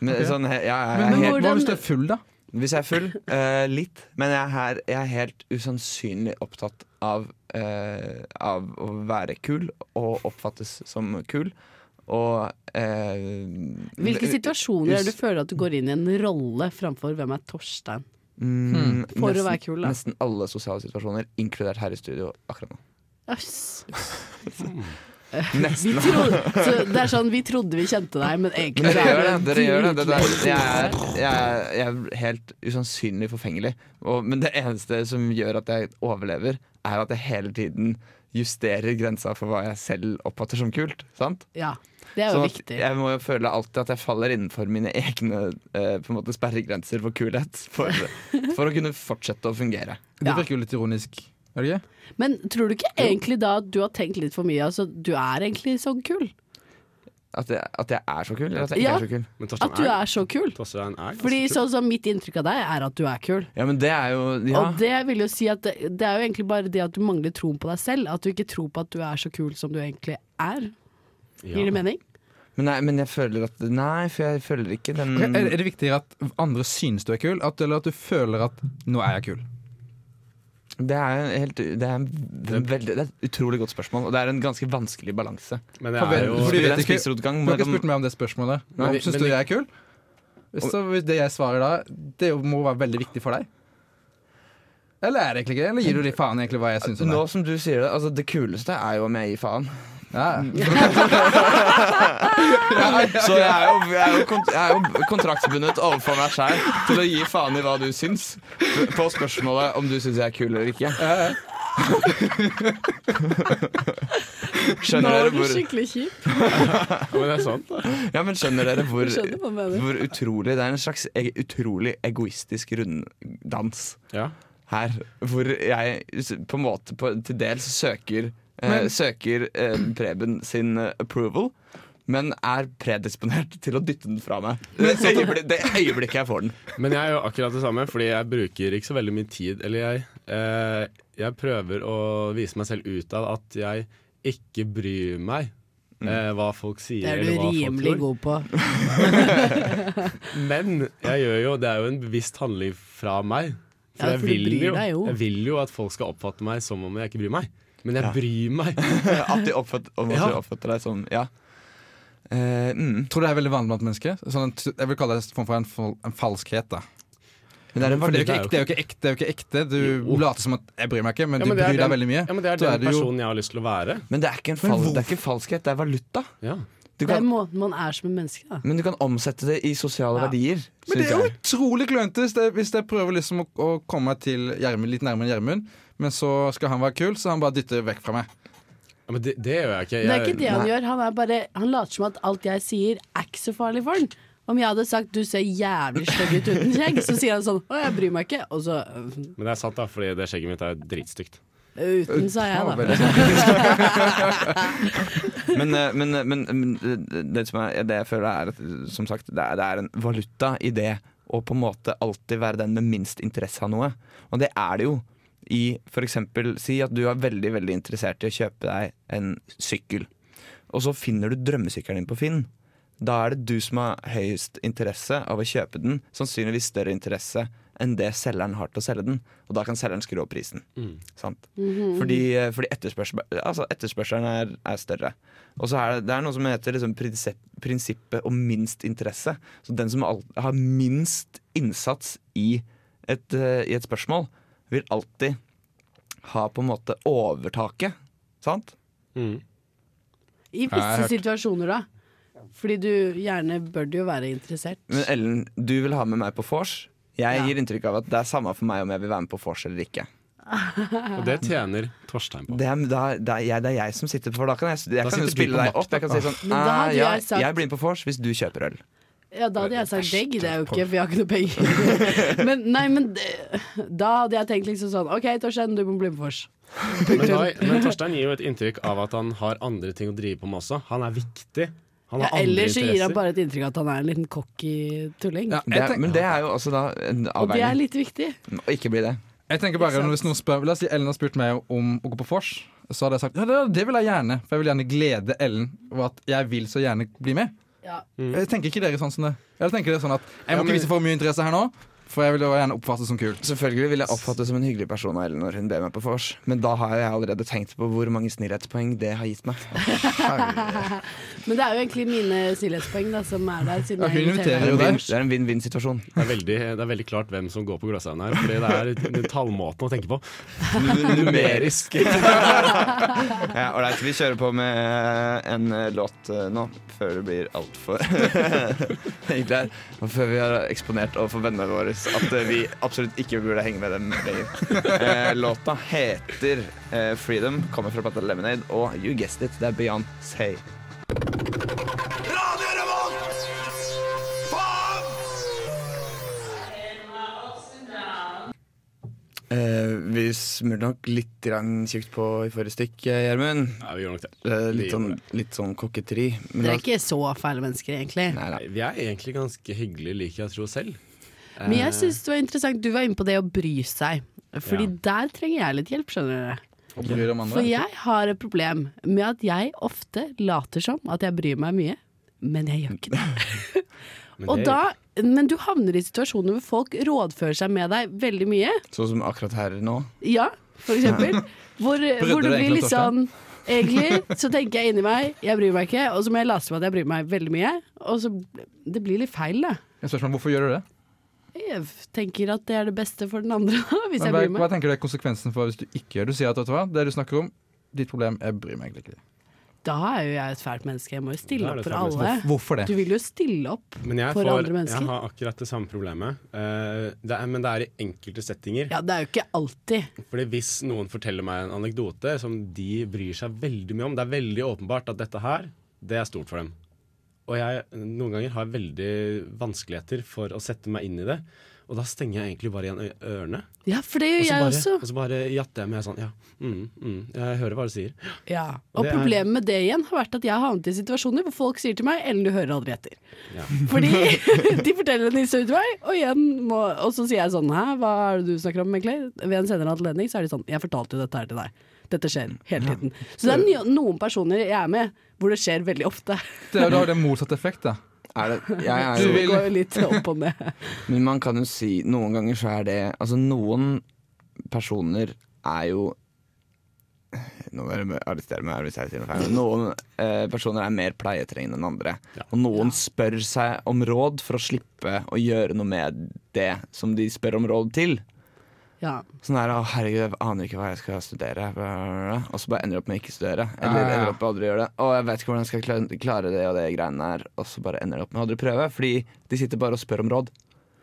B: Men,
D: Ok.
B: sånn, jeg, jeg, er
D: Men, men
B: helt,
D: hva
G: hvordan-
D: hvis du er full, da?
B: hvis jeg er full? eh, litt. Men jeg er, her, jeg er helt usannsynlig opptatt av, eh, av å være kul og oppfattes som kul. Og eh,
G: Hvilke situasjoner er det
B: Us-
G: du føler at du går inn i en rolle framfor hvem er Torstein?
B: Mm,
G: Hmm. For å
B: nesten-
G: være kul, da.
B: Nesten alle sosiale situasjoner, inkludert her i studio akkurat nå.
G: Øss. Vi
B: Nesten.
G: trodde, så det er sånn, vi trodde vi kjente deg, men egentlig
B: Men dere
G: så
B: gjør det.
G: er du
B: Dere gjør det. det der,
G: dritlei.
B: jeg, er, jeg, er, jeg er helt usannsynlig forfengelig. Og, men det eneste som gjør at jeg overlever, er at jeg hele tiden justerer grensa for hva jeg selv oppfatter som kult. Sant?
G: Ja, det er jo
B: Sånn at
G: viktig.
B: jeg må jo føle alltid at jeg faller innenfor mine egne eh, på en måte sperregrenser for kulhet. For, for å kunne fortsette å fungere.
D: Det
G: Ja.
D: virker jo litt ironisk. Er det ikke?
G: Men tror du ikke egentlig da at du har tenkt litt for mye? Altså, du er egentlig så kul.
B: At jeg, at jeg er så kul, eller at jeg ikke
G: Ja.
B: er så kul.
C: Men Torstein
G: At du er så kul.
C: Torstein er ganske
G: Fordi
C: kul.
G: sånn som mitt inntrykk av deg er at du er kul.
B: Ja, men det er jo ja.
G: Og det vil jo si at det, det er jo egentlig bare det at du mangler troen på deg selv. At du ikke tror på at du er så kul som du egentlig er.
C: Ja.
G: Gir det mening?
B: men, nei, men jeg føler at Nei, for jeg føler ikke den
D: Ok,
C: Mm.
D: Er, er det viktigere at andre syns du er kul, at, eller at du føler at 'nå er jeg kul'?
B: Det er, en helt, det, er en veldig, det er et utrolig godt spørgsmål, og det er en ganske vanskelig balanse.
C: Men det
D: Forvent-
C: er jo
D: fordi-
B: Spiller en
D: vet ikke-
B: spiserotgang,
D: Du
B: men
D: har ikke
B: det
D: spurt
B: kan-
D: meg om det spørsmålet.
C: Nei, vi-
D: Syns
C: men
D: du
C: vi-
D: jeg er kul? Så hvis det jeg svarer da, det må være veldig viktig for deg? Eller er det egentlig ikke det? Eller gir du de faen egentlig hva jeg syns om
B: Nå
D: deg?
B: som du sier det, altså det kuleste er jo om jeg gir faen.
D: Ja. ja.
B: Så jeg er jo, jeg er jo, kont jeg er jo kontraktsbundet overfor meg sjæl til å gi faen i hva du syns, på spørsmålet om du syns jeg er kul eller ikke.
G: Nå
B: Skjønner
G: er
B: dere
G: du
B: hvor,
G: skikkelig kjip.
C: Ja, men det er sant, da.
B: ja, men skjønner dere hvor,
G: Jeg skjønner hva du mener.
B: hvor utrolig Det er en slags e utrolig egoistisk runddans.
C: Ja.
B: her, hvor jeg s- på en måte på, til dels søker, eh,
D: Men-
B: søker eh, Preben sin eh, approval. Men er predisponert til å dytte den fra meg. Det, øyeblikket, det øyeblikket jeg får den.
C: Men jeg er jo akkurat det samme, fordi jeg bruker ikke så veldig mye tid. Eller jeg, eh, jeg prøver å vise meg selv ut av at jeg ikke bryr meg
D: Mm.
C: eh, hva folk sier.
G: Det er
C: eller
G: du
C: hva folk
G: rimelig
C: tror.
G: god på.
C: Men jeg gjør jo, det er jo en bevisst handling fra meg. For,
G: Ja,
C: jeg,
G: for du
C: vil
G: bryr
C: jo,
G: deg jo.
C: jeg vil jo at folk skal oppfatte meg som om jeg ikke bryr meg. Men jeg bryr meg.
B: At de oppfatter, om at
C: Ja.
B: de oppfatter deg som Ja. Eh, mm.
D: Tror du det er veldig vanlig blant mennesker? Sånn, en- jeg vil kalle det en form for en, fal- en falskhet. da
B: Men det er en
D: For det er jo
B: vanlig
D: ikke ekte. Det er jo ikke ekte, det er jo ikke ekte. Du later som at 'jeg bryr meg ikke', men
C: Ja,
D: du
C: men det er
D: bryr deg
C: den-
D: veldig mye.
C: Ja, men det er
D: Så
C: den
D: er det jo-
C: personen jeg har lyst til å være.
B: Men det er ikke en, fal det er ikke en falskhet, det er valuta.
C: Ja.
B: Du
G: Det er
B: kan,
G: måten man er som en menneske, da.
B: men du kan omsette det i sosiale
G: Ja.
B: verdier.
D: Men det
B: synes
D: er jo
B: jeg.
D: utrolig klønete hvis, det- hvis jeg prøver liksom å, å komme meg til Gjermund, litt nærmere Gjermund, men så skal han være kul, så han bare dytter vekk fra meg.
C: Ja, men det, det gjør jeg ikke.
G: Men det er
C: Jeg,
G: ikke det han gjør. Han, er bare, han later som at alt jeg sier er ikke så farlig for han. Om jeg hadde sagt 'du ser jævlig stygg ut uten skjegg', så sier han sånn 'å, jeg bryr meg ikke', og så øh,
C: men det er sant, da, fordi det skjegget mitt er dritstygt.
G: Uten, sa jeg da.
D: Veldig sånn.
B: Men, eh, men, men, men det, som er, det jeg føler er at som sagt, det er, det er en valuta i det å på en måte alltid være den med minst interesse av noe. Og det er det jo. I f.eks. si at du er veldig veldig interessert i å kjøpe deg en sykkel. Og så finner du drømmesykkelen din på Finn. Da er det du som har høyest interesse av å kjøpe den. Sannsynligvis større interesse enn det selgeren har til å selge den. Og da kan selgeren skru opp prisen. Sant? Fordi, eh, fordi etterspørsel, altså etterspørselen er, er større. Og så er det, det er noe som heter liksom prinsipp, prinsippet om minst interesse. Så den som al- har minst innsats i et, eh, i et spørsmål, vil alltid ha på en måte overtaket. Sant?
C: Mm.
G: I
D: jeg
G: visse
D: har hørt.
G: situasjoner, da. Fordi du gjerne bør du jo være interessert.
B: Men Ellen, du vil ha med meg på vors. Jeg
G: Ja.
B: gir inntrykk av at det er samme for meg om jeg vil være med på vors eller ikke.
C: Og det tjener Torstein på.
B: Det er, da, det, er jeg, det er jeg som sitter på, for da kan jeg, jeg
C: Da
B: kan jo
C: sitter du på
B: spille deg
C: makta.
B: opp. Jeg kan si sånn
G: Men da
B: ah,
G: hadde
B: ja,
G: jeg sagt-
B: jeg blir med på vors hvis du kjøper øl.
G: Ja, da hadde jeg sagt det gidder jeg jo ikke, for jeg har ikke noe penger. men nei, men det, da hadde jeg tenkt liksom sånn OK, Torstein, du må bli med vors.
C: Men, da, men Torstein gir jo et inntrykk av at han har andre ting å drive på med også. Han er viktig. Han Han
G: Ja,
C: har andre
G: ellers så gir han
C: interesser.
G: bare et inntrykk av at han er en liten cocky tulling.
D: Ja,
B: Det
D: jeg,
B: er,
D: tenk,
B: men det er jo altså da en
G: og det er
B: avveining.
G: litt viktig.
B: Å ikke bli det.
D: jeg tenker bare når- hvis noen spør La oss si Ellen har spurt meg om å gå på vors. Så hadde jeg sagt ja, det, det vil jeg gjerne, for jeg vil gjerne glede Ellen over at jeg vil så gjerne bli med.
G: Ja.
D: Jeg tenker ikke dere sånn som det. Jeg tenker det sånn at Jeg
C: Ja,
D: må
C: men-
D: ikke vise for mye interesse her nå, for jeg vil jo gjerne oppfattes som kul.
B: Selvfølgelig vil jeg oppfattes som en hyggelig person av Ellen når hun ber meg på vors, men da har jeg allerede tenkt på hvor mange snillhetspoeng det har gitt meg.
G: Men det er jo egentlig mine snillhetspoeng da, som er der, siden
D: Ja, hun
G: jeg inviterer
B: Det er
D: inviterer
B: en
G: deg.
D: deg.
B: vin- det er en vinn-vinn-situasjon.
C: Det er, veldig, det er veldig klart hvem som går på Gløshaugen her. Fordi det er den tallmåten å tenke på.
B: Numerisk. ja, Ålreit, vi kjører på med en eh, låt eh, nå, før det blir altfor Egentlig her. Og før vi har eksponert overfor vennene våre at eh, vi absolutt ikke burde henge med dem lenger. Eh, Låta heter eh, 'Freedom', kommer fra plata Lemonade, og you guessed it, det er Beyoncé. Eh, vi smurte nok litt grann tjukt på i forrige stikk, eh, Gjermund.
C: Ja, vi gjør nok det.
B: Eh,
C: Vi
B: litt,
C: gjorde
B: sånn, litt sånn kokketeri. Men
G: Dere
B: da-
G: er ikke så fæle mennesker, egentlig.
B: Nei da.
C: Nei, Vi er egentlig ganske hyggelige, liker jeg å tro selv.
G: Men jeg syns det var interessant, du var inne på det å bry seg. Fordi
C: Ja.
G: der trenger jeg litt hjelp, skjønner dere.
D: Og bryr om andre.
G: For jeg har et problem med at jeg ofte later som at jeg bryr meg mye, men jeg gjør ikke det.
C: Men
G: Og
C: det-
G: da, men du havner i situasjoner hvor folk rådfører seg med deg veldig mye.
B: Sånn som akkurat her nå.
G: Ja, for eksempel. Hvor, hvor du
D: dere
G: blir
D: egentlig
G: litt sånn Egentlig så tenker jeg inni meg, jeg bryr meg ikke, og så må jeg late som at jeg bryr meg veldig mye. Og så Det blir litt feil, da.
D: Jeg spør meg, hvorfor gjør du det?
G: Jeg tenker at det er det beste for den andre,
D: Men
G: hvis jeg
D: hva,
G: bryr meg.
D: hva tenker du er konsekvensen for hvis du ikke gjør det? Du sier at vet du hva, det du snakker om, ditt problem, jeg bryr meg egentlig ikke.
G: Da er jo jeg et fælt menneske. Jeg må jo
C: Da
G: stille
C: er du
G: opp
C: et
G: for
C: fælt
G: alle.
D: Hvorfor det?
G: Du vil jo stille opp.
C: Men jeg,
G: for
C: får,
G: andre mennesker.
C: jeg har akkurat det samme problemet. Eh, det er, men det er i enkelte settinger.
G: Ja, det er jo ikke alltid.
C: Fordi Hvis noen forteller meg en anekdote som de bryr seg veldig mye om Det er veldig åpenbart at dette her, det er stort for dem. Og jeg noen ganger har veldig vanskeligheter for å sette meg inn i det. Og da stenger jeg egentlig bare igjen ø- ørene.
G: Ja, for det
C: Og så
G: gjør jeg
C: bare,
G: også.
C: og så bare jatter jeg med sånn Ja, mm, mm, jeg hører hva du sier.
G: Ja. Og
C: Det er-
G: problemet med det igjen har vært at jeg har havnet i situasjoner hvor folk sier til meg Ellen, du hører aldri etter.
C: Ja.
G: Fordi de forteller en historie til meg, og, igjen må, og så sier jeg sånn hæ, hva er det du snakker om egentlig? Ved en senere anledning så er de sånn jeg fortalte jo dette her til deg. Dette skjer hele tiden. Så det er ny- noen personer jeg er med hvor det skjer veldig ofte.
D: Det er jo da det motsatte effekt, da.
B: Er det, jeg er
D: Du
B: jo,
G: Det
D: vil-
G: går jo litt opp og ned.
B: men man kan jo si Noen ganger så er det Altså, noen personer er jo nå må dere arrestere meg her hvis jeg sier noe feil. Noen eh, personer er mer pleietrengende enn andre. Og noen spør seg om råd for å slippe å gjøre noe med det som de spør om råd til.
G: Ja.
B: Sånn her, å herregud, jeg aner ikke hva jeg skal studere bla, bla, bla. Og så bare ender jeg opp med å ikke studere Eller
D: Ja, ja, ja.
B: ender opp med aldri å gjøre det Og jeg vet ikke hvordan jeg skal kla- klare det og det greiene her Og så bare ender jeg opp med å aldri prøve Fordi de sitter bare og spør om råd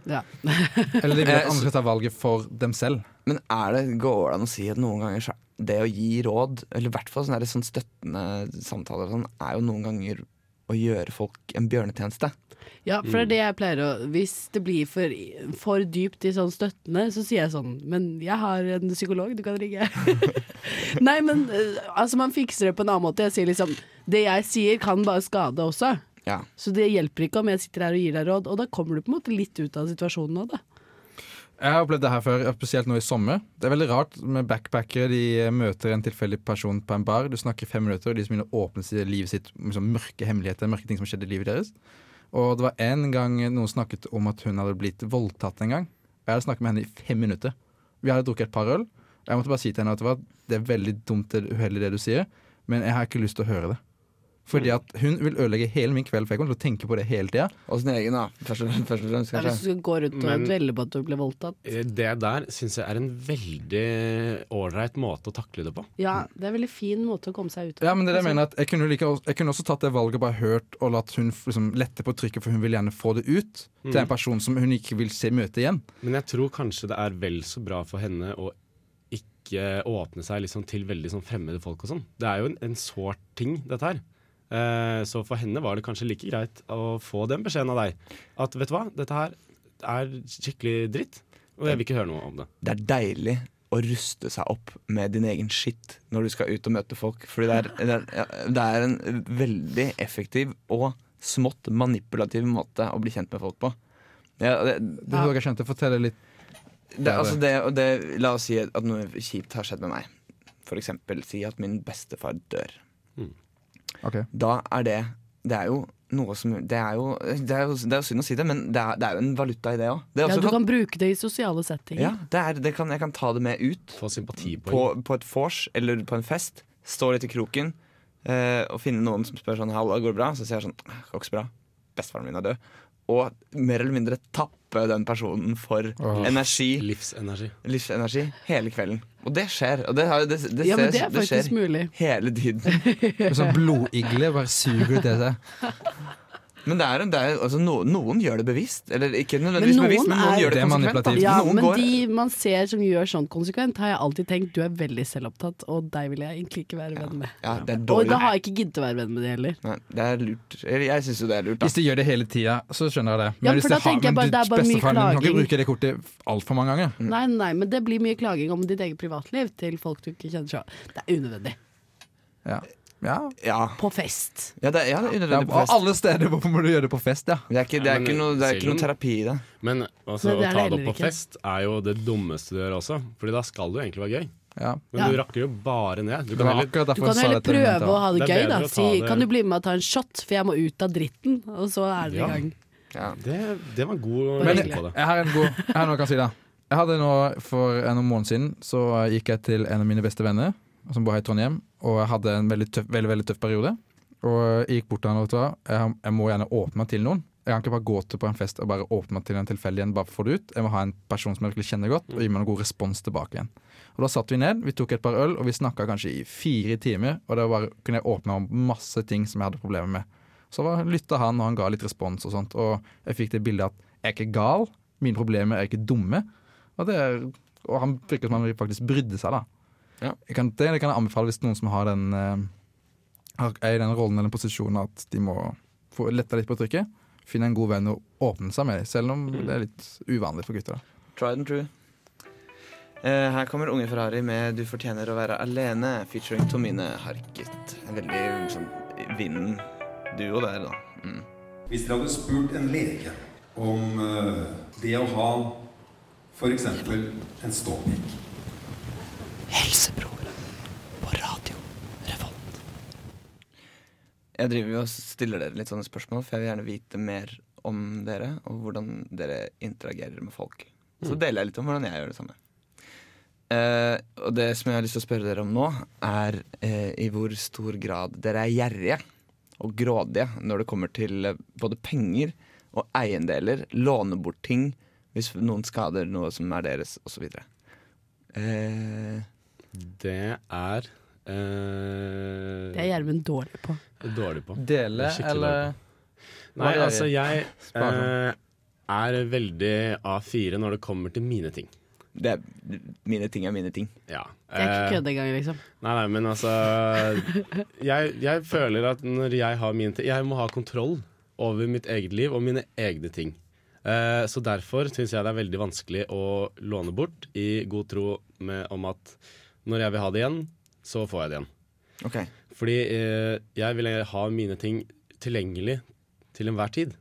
G: ja.
D: Eller de vil
B: Eh,
D: at andre skal ta valget for dem selv.
B: Men er det, går det an å si at noen ganger så er Det å gi råd, eller i hvert fall sånne, her sånn støttende samtaler og sånn, Er jo noen ganger å gjøre folk en bjørnetjeneste
G: Ja,
D: Mm.
G: for det er det jeg pleier å Hvis det blir for, for dypt i sånn støttende, så sier jeg sånn Men jeg har en psykolog du kan ringe. Nei, men eh, altså, man fikser det på en annen måte. Jeg sier liksom Det jeg sier, kan bare skade også.
B: Ja,
G: Så det hjelper ikke om jeg sitter her og gir deg råd. Og da kommer du på en måte litt ut av situasjonen nå, da.
D: Jeg har opplevd det her før, spesielt nå i sommer. Det er veldig rart med backpackere. De eh, møter en tilfeldig person på en bar, du snakker i fem minutter, og de som begynner å åpne sitt- livet sitt om liksom, mørke hemmeligheter, mørke ting som skjedde i livet deres. Og det var en gang noen snakket om at hun hadde blitt voldtatt en gang. Og jeg hadde snakket med henne i fem minutter. Vi hadde drukket et par øl. Og jeg måtte bare si til henne at det, var, det er veldig dumt og uheldig det du sier, men jeg har ikke lyst til å høre det. Fordi at hun vil ødelegge hele min kveld, for jeg kommer til å tenke på det hele tida.
B: og sin egen da, først og først og fremst
G: Ja, Hvis
B: kanskje
G: du skal gå rundt og
C: Men-
G: dvele på at du ble voldtatt.
C: Eh, Det der syns jeg er en veldig ålreit måte å takle det på.
G: Ja, det er en veldig fin måte å komme seg ut av. Altså,
D: Ja, men det er det jeg mener at jeg kunne, jo like, jeg kunne også tatt det valget og bare hørt og latt hun f- liksom, lette på trykket, for hun vil gjerne få det ut til
G: Mm.
D: en person som hun ikke vil se møte igjen.
C: Men jeg tror kanskje det er vel så bra for henne å ikke åpne seg liksom til veldig sånn fremmede folk og sånn. Det er jo en, en sårt ting, dette her. Eh, så for henne var det kanskje like greit å få den beskjeden av deg. At vet du hva, dette her er skikkelig dritt, og jeg vil ikke høre noe om det.
B: det er deilig å ruste seg opp med din egen skitt når du skal ut og møte folk. Fordi det er, det er, ja, det er en veldig effektiv og smått manipulativ måte å bli kjent med folk på. Ja, det,
D: Det
G: Ja.
D: dere kjente, forteller litt
B: det, altså det, og det, la oss si at noe kjipt har skjedd med meg. For eksempel si at min bestefar dør.
D: Ok,
B: Da er det Det er jo noe som Det er jo, det er jo, det er jo synd å si det, men det er, det er jo en valuta i det òg. Det, er
G: Ja,
D: Altså,
B: også
G: du
B: kan-
G: kan bruke det i sosiale settinger.
B: ja, det, er- det kan, jeg kan ta det med ut
C: Få sympatipoeng.
B: på, på et vors eller på en fest. Stå litt i kroken eh, og finne noen som spør sånn 'Halla, går det bra?' Så sier jeg sånn «Eh, 'Går ikke så bra. Bestefaren min er død.' Og mer eller mindre tappe den personen for energi,
C: Livsenergi.
B: livsenergi hele kvelden. Og det skjer. Og det, har- det, det,
G: Ja, men det
B: ser-
G: er faktisk
B: skjer
G: mulig.
B: hele tiden.
D: En sånn blodigle, bare suger ut det der.
B: Men det er, en- det er, altså, no, noen gjør det bevisst. Eller ikke
G: Men
B: nødvendigvis
G: noen
B: bevisst, men noen
G: er-
B: gjør det
D: Det er
B: konsekvent. da.
D: manipulativt.
G: Ja,
B: noen
G: men
B: går,
G: de man ser som gjør sånn konsekvent, har jeg alltid tenkt du er veldig selvopptatt, og deg vil jeg egentlig ikke være venn med.
B: ja, det er
G: Og
B: dårlig.
G: da har jeg ikke giddet å være venn med det heller.
B: Nei, det er lurt. Jeg, jeg syns jo det er lurt, da.
D: Hvis de gjør det hele tida, så skjønner jeg det.
G: Ja,
D: hvis
G: for da
D: har-
G: tenker jeg bare
D: du-
G: det er bare mye
D: bestefaren din kan
G: klaging.
D: ikke bruke det kortet altfor mange ganger.
B: Mm.
G: Nei, nei, nei, men det blir mye klaging om ditt eget privatliv til folk du ikke kjenner så Det er unødvendig.
D: Ja. Ja.
B: Ja,
G: På fest.
B: ja det, ja, det er
D: Ja,
B: unødvendig på
D: og
B: fest.
D: alle steder hvor må du gjøre det på fest, ja.
B: Det er ikke, det er
C: Nei, men,
B: ikke, noe, det er
C: sier
B: ikke noe
C: du-
B: terapi i det.
C: Men altså, å ta
G: Nei, det er det
C: det opp
G: heller
C: på
G: ikke.
C: fest er jo det dummeste du gjør også. Fordi da skal det jo egentlig være gøy.
D: ja.
C: Men
G: Ja.
C: du rakker jo bare ned. Du
D: Det
C: kan
D: var
C: heller
D: akkurat
G: Du
D: derfor jeg
G: kan jo
D: sa
G: heller
D: dette med
G: prøve å
D: mental.
G: ha det
C: Det er bedre
G: gøy, da.
C: å ta
G: Si,
C: det-
G: kan du bli med og ta en shot, for jeg må ut av dritten. Og så er det i
C: Ja.
G: gang.
C: det, det var en god
G: Men-
C: men, på det.
D: Jeg har en god Jeg har noe jeg kan si, da. Jeg hadde nå For en måned siden Så gikk jeg til en av mine beste venner, som bor her i Trondheim, og jeg hadde en veldig tøff, veldig, veldig tøff periode. Og jeg gikk bort til han og sa jeg, jeg må gjerne åpne meg til noen. Jeg kan ikke bare gå til på en fest og bare åpne meg til en tilfeldig en bare for å få det ut. Jeg må ha en person som jeg virkelig kjenner godt, og gi meg noen god respons tilbake igjen. Og Da satt vi ned, vi tok et par øl, og vi snakka kanskje i fire timer. Og da bare, kunne jeg åpne om masse ting som jeg hadde problemer med. Så var- lytta han, og han ga litt respons og sånt. Og jeg fikk det bildet at jeg er ikke gal, mine problemer er ikke dumme. Og, det er, og han virket som han faktisk brydde seg, da.
B: Ja.
D: Jeg kan, det, det kan jeg anbefale hvis noen som har den eh, har- er i den rollen eller den posisjonen at de må få letta litt på trykket. Finne en god venn og åpne seg med dem, selv om det er litt uvanlig for gutter. da.
B: Tried and true. Eh, her kommer Unge Ferrari med 'Du fortjener å være alene', featuring Tomine Harket. En veldig sånn vinden-duo der, da. Mm.
E: Hvis dere hadde spurt en lege om eh, det å ha f.eks. en ståpikk
B: Jeg driver jo og stiller dere litt sånne spørsmål, for jeg vil gjerne vite mer om dere, og hvordan dere interagerer med folk.
C: Mm.
B: Så deler jeg litt om hvordan jeg gjør det samme. Eh, og det som jeg har lyst til å spørre dere om nå, er eh, i hvor stor grad dere er gjerrige og grådige når det kommer til eh, både penger og eiendeler, låne bort ting hvis noen skader noe som er deres, osv. Uh,
C: Det er eh,
G: Det er Gjermund dårlig på.
C: dårlig på.
D: Dele
C: Det er skikkelig
D: eller
C: Nei,
D: Hva er det?
C: altså jeg eh,
D: Sparsam.
C: er veldig A4 når det kommer til mine ting.
B: det er, mine ting er mine ting.
C: Ja.
G: Det er ikke
C: Eh,
G: kødd engang, liksom.
C: Nei, nei, men altså jeg, jeg føler at når jeg har mine ting Jeg må ha kontroll over mitt eget liv og mine egne ting. Eh, så derfor syns jeg det er veldig vanskelig å låne bort i god tro med, om at når jeg vil ha det igjen, så får jeg det igjen.
B: Ok,
C: Fordi eh, jeg vil ha mine ting tilgjengelig til enhver tid.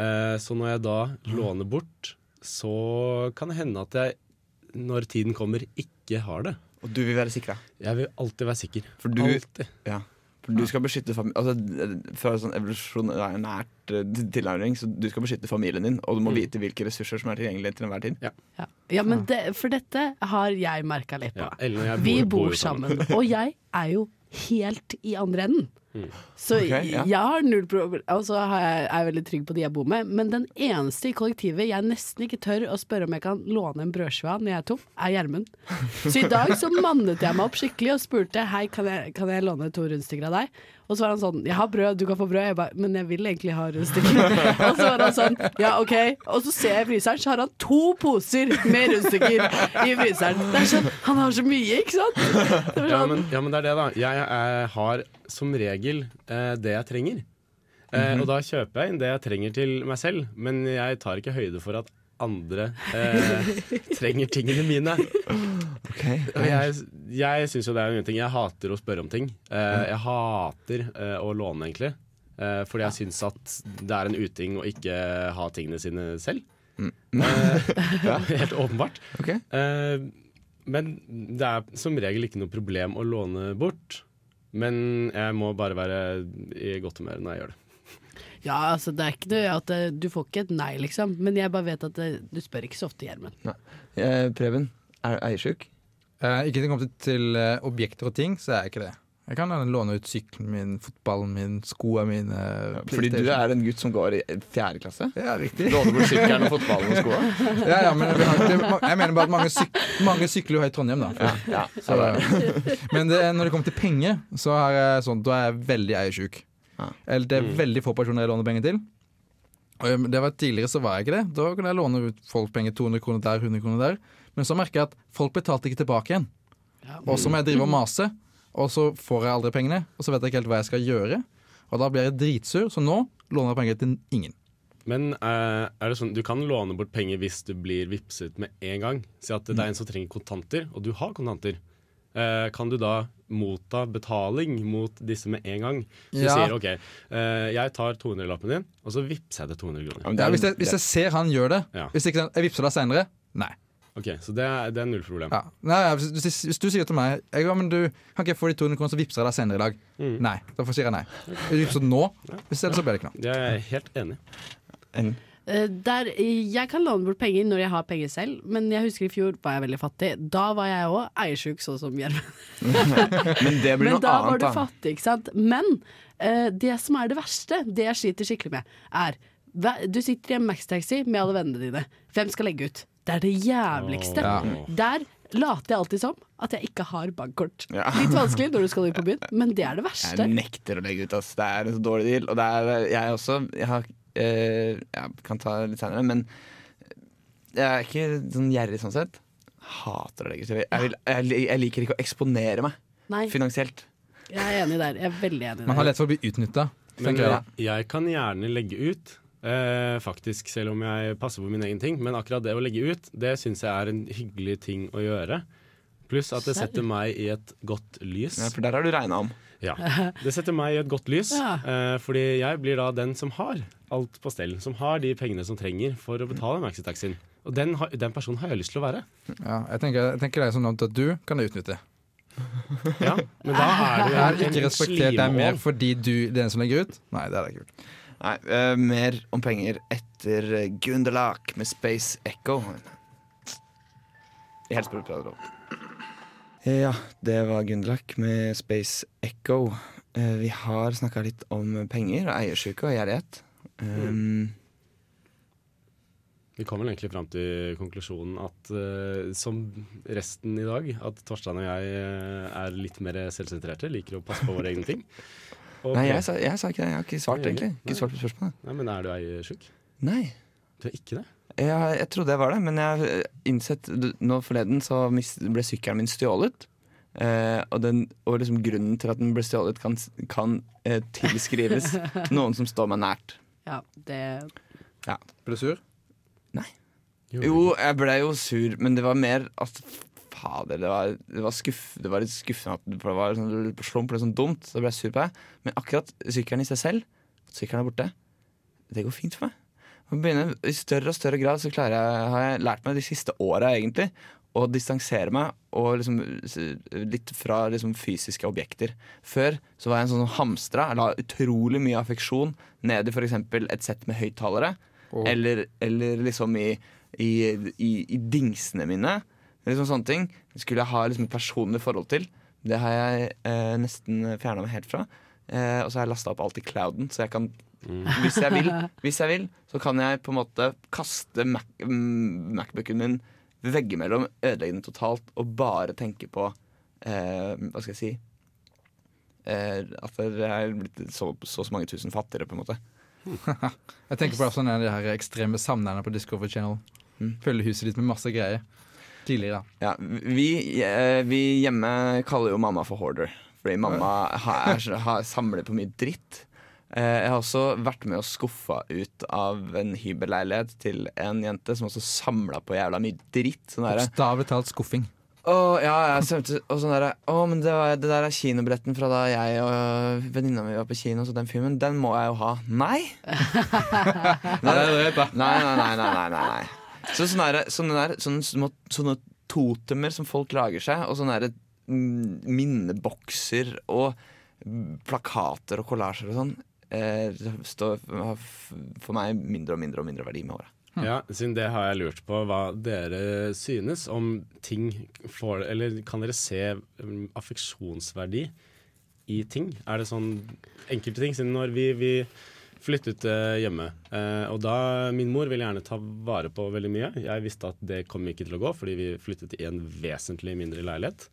C: Eh, så når jeg da låner bort, så kan det hende at jeg, når tiden kommer, ikke har det.
B: Og du vil være sikra.
C: Jeg vil alltid være sikker.
B: For du-
C: Alltid.
B: Ja. For du skal beskytte familien altså, Fra sånn evolusjonært eh, tilnærming, så du skal beskytte familien din, og du må vite hvilke ressurser som er tilgjengelige til enhver tid.
G: Ja, ja men det, for dette har jeg merka litt på.
C: Ja, Ellen og jeg
G: Vi
C: bor-
G: bor sammen, og jeg er jo helt i andre enden. Så
B: Ok, ja.
G: jeg har null problem, og så har jeg, er jeg veldig trygg på de jeg bor med. Men den eneste i kollektivet jeg nesten ikke tør å spørre om jeg kan låne en brødskive av når jeg er tom, er Gjermund. Så i dag så mannet jeg meg opp skikkelig og spurte hei, kan jeg, kan jeg låne to rundstykker av deg? Og så var han sånn jeg har brød, du kan få brød. Jeg ba, men jeg vil egentlig ha rundstykker. og så var han sånn ja, OK. Og så ser jeg i fryseren, så har han to poser med rundstykker i fryseren. Det er sånn, Han har så mye, ikke sant? Det var
C: Ja
G: sånn,
C: men, ja, men det er det, da. Jeg eh, har som regel eh, det jeg trenger. Eh, Og da kjøper jeg inn det jeg trenger til meg selv, men jeg tar ikke høyde for at andre eh, trenger tingene mine. Og jeg jeg syns jo det er en ting. Jeg hater å spørre om ting. Eh, jeg hater eh, å låne, egentlig. Eh, fordi jeg syns at det er en uting å ikke ha tingene sine selv. Eh, helt åpenbart.
B: Ok.
C: Eh, men det er som regel ikke noe problem å låne bort. Men jeg må bare være i godt humør når jeg gjør det.
G: Ja, altså det er ikke noe at eh, Du får ikke et nei, liksom. Men jeg bare vet at eh, du spør ikke så ofte, Gjermund.
B: Eh, Preben, er du eiersjuk?
D: Eh, ikke til å komme til, til eh, objekter og ting, så er jeg ikke det. Jeg kan gjerne låne ut sykkelen min, fotballen min, skoene mine.
B: Fordi du er en gutt som går i fjerde klasse?
D: Ja, riktig.
B: Låner bort sykkelen og fotballen og skoene?
D: Ja, ja, men vi har ikke- jeg mener bare at mange, syk, mange sykler jo her i Trondheim, da. så, men det, er- når det kommer til penger, så er jeg, sånn, da er jeg veldig eiersjuk.
B: Ja.
D: Eller det er veldig få personer jeg låner penger til. Og jeg- det var Tidligere så var jeg ikke det. Da kunne jeg låne ut folk penger 200 kroner der, 100 kroner der. Men så merker jeg at folk betalte ikke tilbake igjen.
G: Ja.
D: Og så må jeg drive og mase, og så får jeg aldri pengene. Og så vet jeg ikke helt hva jeg skal gjøre. Og da blir jeg dritsur, så nå låner jeg penger til ingen.
C: Men eh, er det sånn, du kan låne bort penger hvis du blir vippset med en gang. Si at det er en som trenger kontanter, og du har kontanter. Eh, kan du da motta betaling mot disse med en gang? Så
D: Ja.
C: du sier OK, eh, jeg tar 200-lappen din, og så vippser jeg deg 200 kroner.
D: Ja, hvis, jeg, hvis jeg ser han gjør det,
C: Ja.
D: hvis ikke den- jeg vippser deg seinere nei.
C: Ok, Så det er, det er null problem.
D: Ja. nei ja, hvis, hvis, hvis du sier til meg jeg, ja, men du, Kan ikke jeg få de 200 kronene, så vippser jeg deg senere i dag.
C: Mm.
D: Nei. Da får sier jeg nei. Jeg vipser nå, hvis ikke så blir det ikke noe.
C: Det er jeg helt enig i.
G: Eh, Der, jeg kan låne bort penger når jeg har penger selv, men jeg husker i fjor var jeg veldig fattig. Da var jeg òg eiersjuk, sånn som Gjermund.
B: Men det blir
G: Men
B: noe
G: da var
B: annet,
G: du
B: da.
G: fattig, ikke sant. Men eh, det som er det verste, det jeg sliter skikkelig med, er hva- Du sitter i en Max-taxi med alle vennene dine. Hvem skal legge ut? Det er det jævligste.
C: Åh.
G: Der later jeg alltid som at jeg ikke har bankkort.
B: Ja.
G: Litt vanskelig når du skal ut på byen, men det er det
B: Jeg
G: verste.
B: nekter å legge ut, ass. Det er en så dårlig deal. Og det er jeg også. Jeg, har, eh, jeg kan ta det litt senere, men jeg er ikke sånn gjerrig sånn sett. Hater å legge ut. Jeg, vil, jeg, jeg liker ikke å eksponere meg
G: Nei,
B: finansielt.
G: jeg er enig der. Jeg er veldig enig
D: Man har
G: der.
D: lett for å bli utnytta.
C: Men eh,
D: tenker jeg da.
C: jeg, jeg kan gjerne legge ut, eh, faktisk, selv om jeg passer på min egen ting. Men akkurat det å legge ut, det syns jeg er en hyggelig ting å gjøre. Pluss at det
G: Serr?
C: setter meg i et godt lys.
B: Ja, for der har du regna om.
C: Ja. Det setter meg i et godt lys,
G: Ja.
C: eh, fordi jeg blir da den som har alt på stell. Som har de pengene som trenger for å betale maxitaxien. Og den, har- den personen har jeg lyst til å være.
D: Ja, jeg, tenker, jeg tenker det er sånn at du kan jeg utnytte.
C: Ja, men da
D: Jeg
C: er
D: har
C: du en
D: ikke respektert deg mer
C: slimål.
D: fordi du det er den som legger ut. Nei, det er det ikke. gjort.
B: Nei, eh, mer om penger etter eh, Gundelak med Space Echo. I helseprøveprøver. Eh, Ja, det var Gundelak med Space Echo. Eh, Vi har snakka litt om penger og eiersjuke og gjerrighet. Um,
C: Vi kommer vel egentlig fram til konklusjonen at eh, som resten i dag, at Torstein og jeg eh, er litt mer selvsentrerte, liker å passe på våre egne ting. Og-
B: Nei, jeg sa, jeg sa ikke det. Jeg har ikke svart,
C: Nei,
B: egentlig.
C: nei.
B: Ikke svart på spørsmålet.
C: Nei, men er du eiersjuk?
B: Nei.
C: Du er ikke det?
B: Jeg, jeg trodde jeg var det, men jeg har innsett du- Nå forleden så mis- ble sykkelen min stjålet. Eh, og den, og liksom grunnen til at den ble stjålet, kan, s- kan eh, tilskrives noen som står meg nært.
G: Ja, det
D: Blir du sur?
B: Jo, jeg ble jo sur, men det var mer at Fader, det var, det var, skuff, det var litt skuffende at for det var sånn, slump, det var sånn dumt. Så da ble jeg sur på deg. Men akkurat sykkelen i seg selv, at sykkelen er borte, det går fint for meg. Og begynner, I større og større grad så klarer jeg, har jeg lært meg de siste åra egentlig å distansere meg og liksom, s- litt fra liksom, fysiske objekter. Før så var jeg en sånn som hamstra. Jeg la utrolig mye affeksjon ned i f.eks. et sett med høyttalere. Eller, eller liksom i, i, i, i dingsene mine. Liksom sånne ting. Det skulle jeg ha liksom, et personlig forhold til. Det har jeg eh, nesten fjerna meg helt fra. Eh, og så har jeg lasta opp alt i clouden, så jeg kan hvis jeg, vil, hvis jeg vil, så kan jeg på en måte kaste Mac mm, Macbooken min veggimellom, ødelegge den totalt og bare tenke på eh, Hva skal jeg si eh, At jeg er blitt så, så så mange tusen fattigere, på en måte.
D: Jeg tenker på sånn en av de her ekstreme samlerne på Discovery Channel.
B: Mm.
D: Følger huset ditt med masse greier. Tidligere.
B: Ja, vi, eh, vi hjemme kaller jo mamma for hoarder. Fordi mamma har, er, så- har, samler på mye dritt. Eh, jeg har også vært med og skuffa ut av en hybelleilighet til en jente som også samla på jævla mye dritt. Sånn derre-
D: Bokstavelig talt skuffing.
B: Å, ja, jeg svømte og sånn derre Å, men det, var, det der er kinobretten fra da jeg og venninna mi var på kino, så den filmen, den må jeg jo ha. Nei! nei, nei, nei, nei, nei, nei, nei, nei, nei. Så sånne, derre- sånne, der, sånne, små- sånne totemer som folk lager seg, og sånne derre, mm, minnebokser og mm, plakater og kollasjer og sånn, eh, står har f- for meg mindre og mindre og mindre verdi med åra.
C: Ja, siden det har jeg lurt på hva dere synes om ting får, Eller kan dere se um, affeksjonsverdi i ting? Er det sånn enkelte ting? Siden når vi, vi flyttet eh, hjemme, eh, og da Min mor ville gjerne ta vare på veldig mye. Jeg visste at det kom ikke til å gå, fordi vi flyttet i en vesentlig mindre leilighet.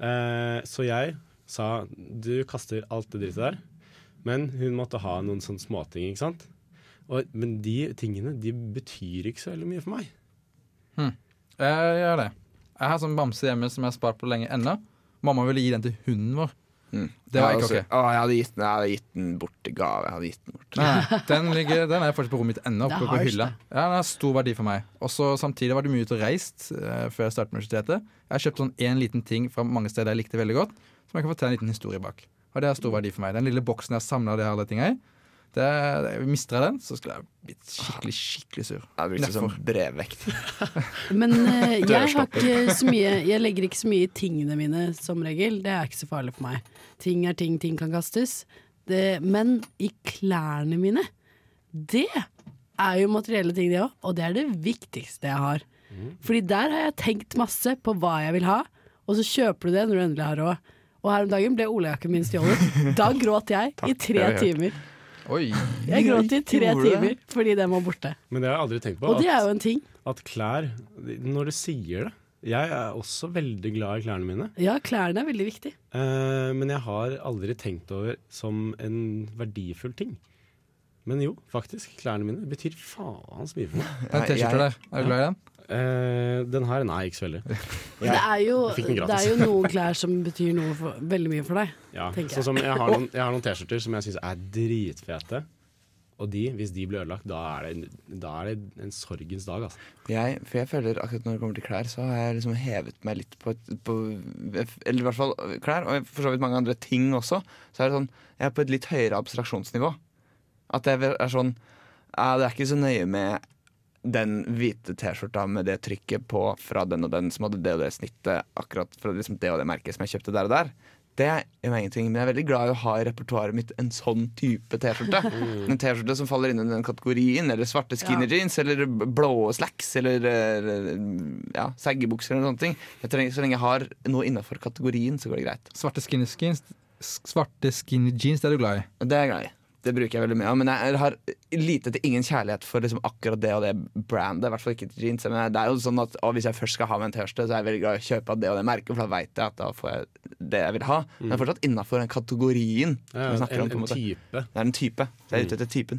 C: Eh, så jeg sa du kaster alt det drittet der. Men hun måtte ha noen sånne småting, ikke sant. Og, men de tingene de betyr ikke så veldig mye for meg.
D: Jeg gjør det. Jeg har sånn bamse hjemme som jeg har spart på lenge ennå. Mamma ville gi den til hunden vår. Det var ikke ok.
B: altså, Å, jeg hadde gitt den, jeg hadde gitt den bort i gave. Jeg hadde gitt den bort.
D: Nei, den, ligger, den er faktisk på rommet mitt ennå,
G: Det er
D: oppe på
G: hardt,
D: hylla. Ja, Den har stor verdi for meg. Og så Samtidig var det mye ute og reist eh, før jeg startet med universitetet. Jeg kjøpte sånn én liten ting fra mange steder jeg likte veldig godt, som jeg kan fortelle en liten historie bak. Og det har stor verdi for meg. Den lille boksen jeg samla de alle tinga i, det, det, mister jeg den, så skulle jeg blitt skikkelig, skikkelig sur.
B: Jeg brukte det som brevvekt.
G: Men eh, jeg har ikke så mye Jeg legger ikke så mye i tingene mine, som regel. Det er ikke så farlig for meg. Ting er ting, ting kan kastes. Det, men i klærne mine, det er jo materielle ting, det òg. Og det er det viktigste jeg har.
B: Mm.
G: Fordi der har jeg tenkt masse på hva jeg vil ha, og så kjøper du det når du endelig har råd. Og her om dagen ble olajakken min stjålet. Da gråt jeg i tre
B: har jeg hørt.
G: timer.
D: Oi.
G: Jeg gråt i tre
B: Gjorde du det?
G: timer fordi den var borte.
C: Men det har jeg aldri tenkt på.
G: Og det er jo
C: At,
G: en ting.
C: at klær Når du sier det Jeg er også veldig glad i klærne mine,
G: Ja, klærne er veldig viktig.
C: eh, men jeg har aldri tenkt over som en verdifull ting. Men jo, faktisk. Klærne mine betyr faen så mye for meg.
D: Den T-skjorta der, er du glad i den?
C: Eh, den her, nei, ikke så veldig.
G: Det er, jo,
C: Jeg fikk den
G: det er
C: gratis.
G: jo noen klær som betyr noe for, veldig mye for deg.
C: Ja.
G: Tenker jeg.
C: Sånn som jeg har noen, jeg har noen T-skjorter som jeg syns er dritfete. Og de, hvis de blir ødelagt, da er det, en- da er det en sorgens dag, altså.
B: Jeg, for jeg føler akkurat når det kommer til klær, så har jeg liksom hevet meg litt på, et, på Eller i hvert fall klær, og for så vidt mange andre ting også. Så er det sånn Jeg er på et litt høyere abstraksjonsnivå. At jeg er sånn ja, Det er ikke så nøye med den hvite T-skjorta med det trykket på fra den og den som hadde det og det snittet akkurat fra liksom det og det merket som jeg kjøpte der og der. Det gjør meg ingenting, men jeg er veldig glad i å ha i repertoaret mitt en sånn type T-skjorte. En T-skjorte som faller inn under den kategorien, eller svarte skinny jeans, eller b- blå slacks, eller eh, ja, saggebukser eller sånne ting. Jeg trenger, så lenge jeg har noe innafor kategorien, så går det greit.
D: Svarte skinny, jeans, svarte skinny jeans, det er du glad i.
B: Og Det er jeg glad i. Det bruker jeg veldig mye av. Men jeg har lite til ingen kjærlighet for liksom akkurat det og det brandet. I hvert fall ikke til jeans. Men det er jo sånn at å, hvis jeg først skal ha meg en T-skjorte, så er jeg veldig glad i å kjøpe av det og det merket, for da veit jeg at da får jeg det jeg vil ha. Men jeg er fortsatt innafor den kategorien. som vi
C: En,
B: snakker om, på en
C: Mm. Eh, en
B: måte.
C: type.
B: Det er en type. Så jeg er ute etter typen.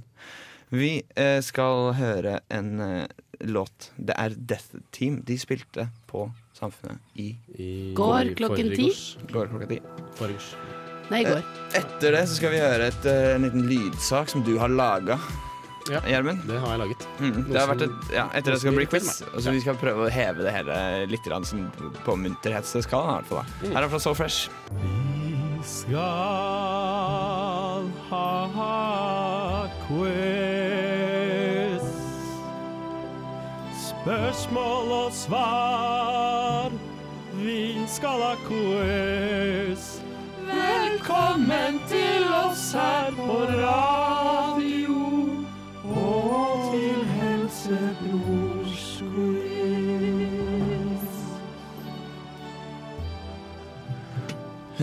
B: Vi eh, skal høre en eh, låt. Det er Death Team. De spilte på Samfunnet i
C: I
G: Går klokken ti?
C: forgårs.
B: går klokka ti.
C: Forgårs.
G: Nei, i går.
B: Etter det så skal vi høre et, eh, en liten lydsak som du har laga,
C: Ja.
B: Gjermund.
C: Det har jeg laget.
B: Mm, det har
C: som-
B: vært et, ja, etter det skal det bli quiz, og så vi skal prøve å heve det hele litt grann som på munterhetsskalaen. i hvert fall, da. Her er fra So Fresh.
H: Skal ha quiz. Spørsmål og svar. Vi skal ha quiz. Velkommen til oss her på radio og til Helsebrors quiz.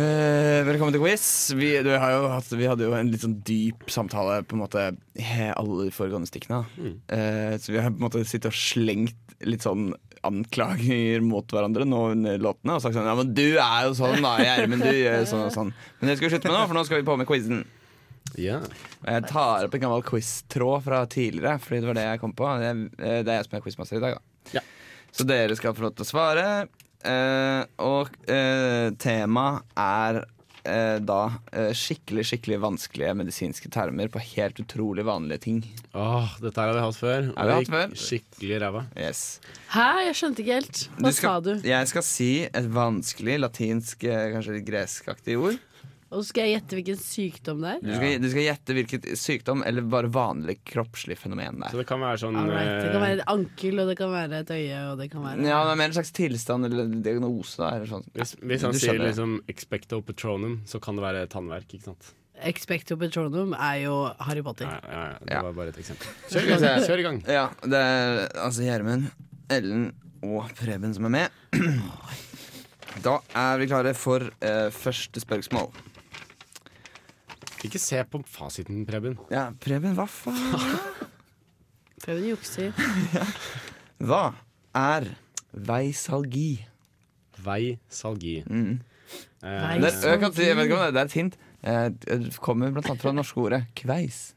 B: Eh, velkommen til quiz. Vi, du har jo hatt, vi hadde jo en litt sånn dyp samtale på en måte i alle de foregående stikkene. da. Eh, så vi har på en måte sittet og slengt litt sånn anklager mot hverandre nå under låtene. Og sagt sånn Ja, men du er jo sånn, da, Gjermund. Du gjør sånn og sånn. Men det skal vi slutte med nå, for nå skal vi på med quizen.
C: Ja.
B: Jeg tar opp en gammel quiz-tråd fra tidligere, fordi det var det jeg kom på. Det er, eh, det er jeg som er quizmaster i dag, da.
C: Ja.
B: Så dere skal få lov til å svare. Eh, og eh, temaet er eh, eh, da eh, skikkelig skikkelig vanskelige medisinske termer på helt utrolig vanlige ting.
C: Åh, dette her har vi hatt før. og
B: Har vi
C: det
B: hatt
C: gikk
B: før?
C: Skikkelig ræva.
B: Yes.
G: Hæ, jeg skjønte ikke helt. Hva sa
B: skal,
G: du?
B: Jeg skal si et vanskelig latinsk, eh, kanskje litt greskaktig ord.
G: Og så skal jeg gjette hvilken sykdom det er?
B: Du skal, du skal gjette hvilket sykdom eller bare vanlig kroppslig fenomen det
C: Så
B: er.
C: det kan være sånn
G: Alright. Det
C: eh,
G: kan være et ankel, og det kan være et øye, og det kan være
B: Ja, det er mer en slags tilstand eller diagnose. Da, eller sånn.
C: hvis, hvis han
B: Du
C: sier
B: skjønner.
C: liksom 'expecto patronum', så kan det være tannverk. ikke sant?
G: Expecto Patronum er jo Harry Potter.
C: Ja, ja, ja, det
B: Ja.
C: var bare et eksempel. Kjør i gang. Kjør i gang.
B: Ja, det er altså Gjermund, Ellen og Preben som er med. Da er vi klare for eh, første spørsmål.
C: Ikke se på fasiten, Preben.
B: Ja, Preben, hva faen?
G: Prøv å jukse.
B: Eh. Hva er veisalgi?
C: Vei salgi.
B: Mm.
C: Eh,
B: Det, er- jeg kan si, jeg vet ikke om det, det er et hint. Eh, Det kommer blant annet fra det norske ordet kveis.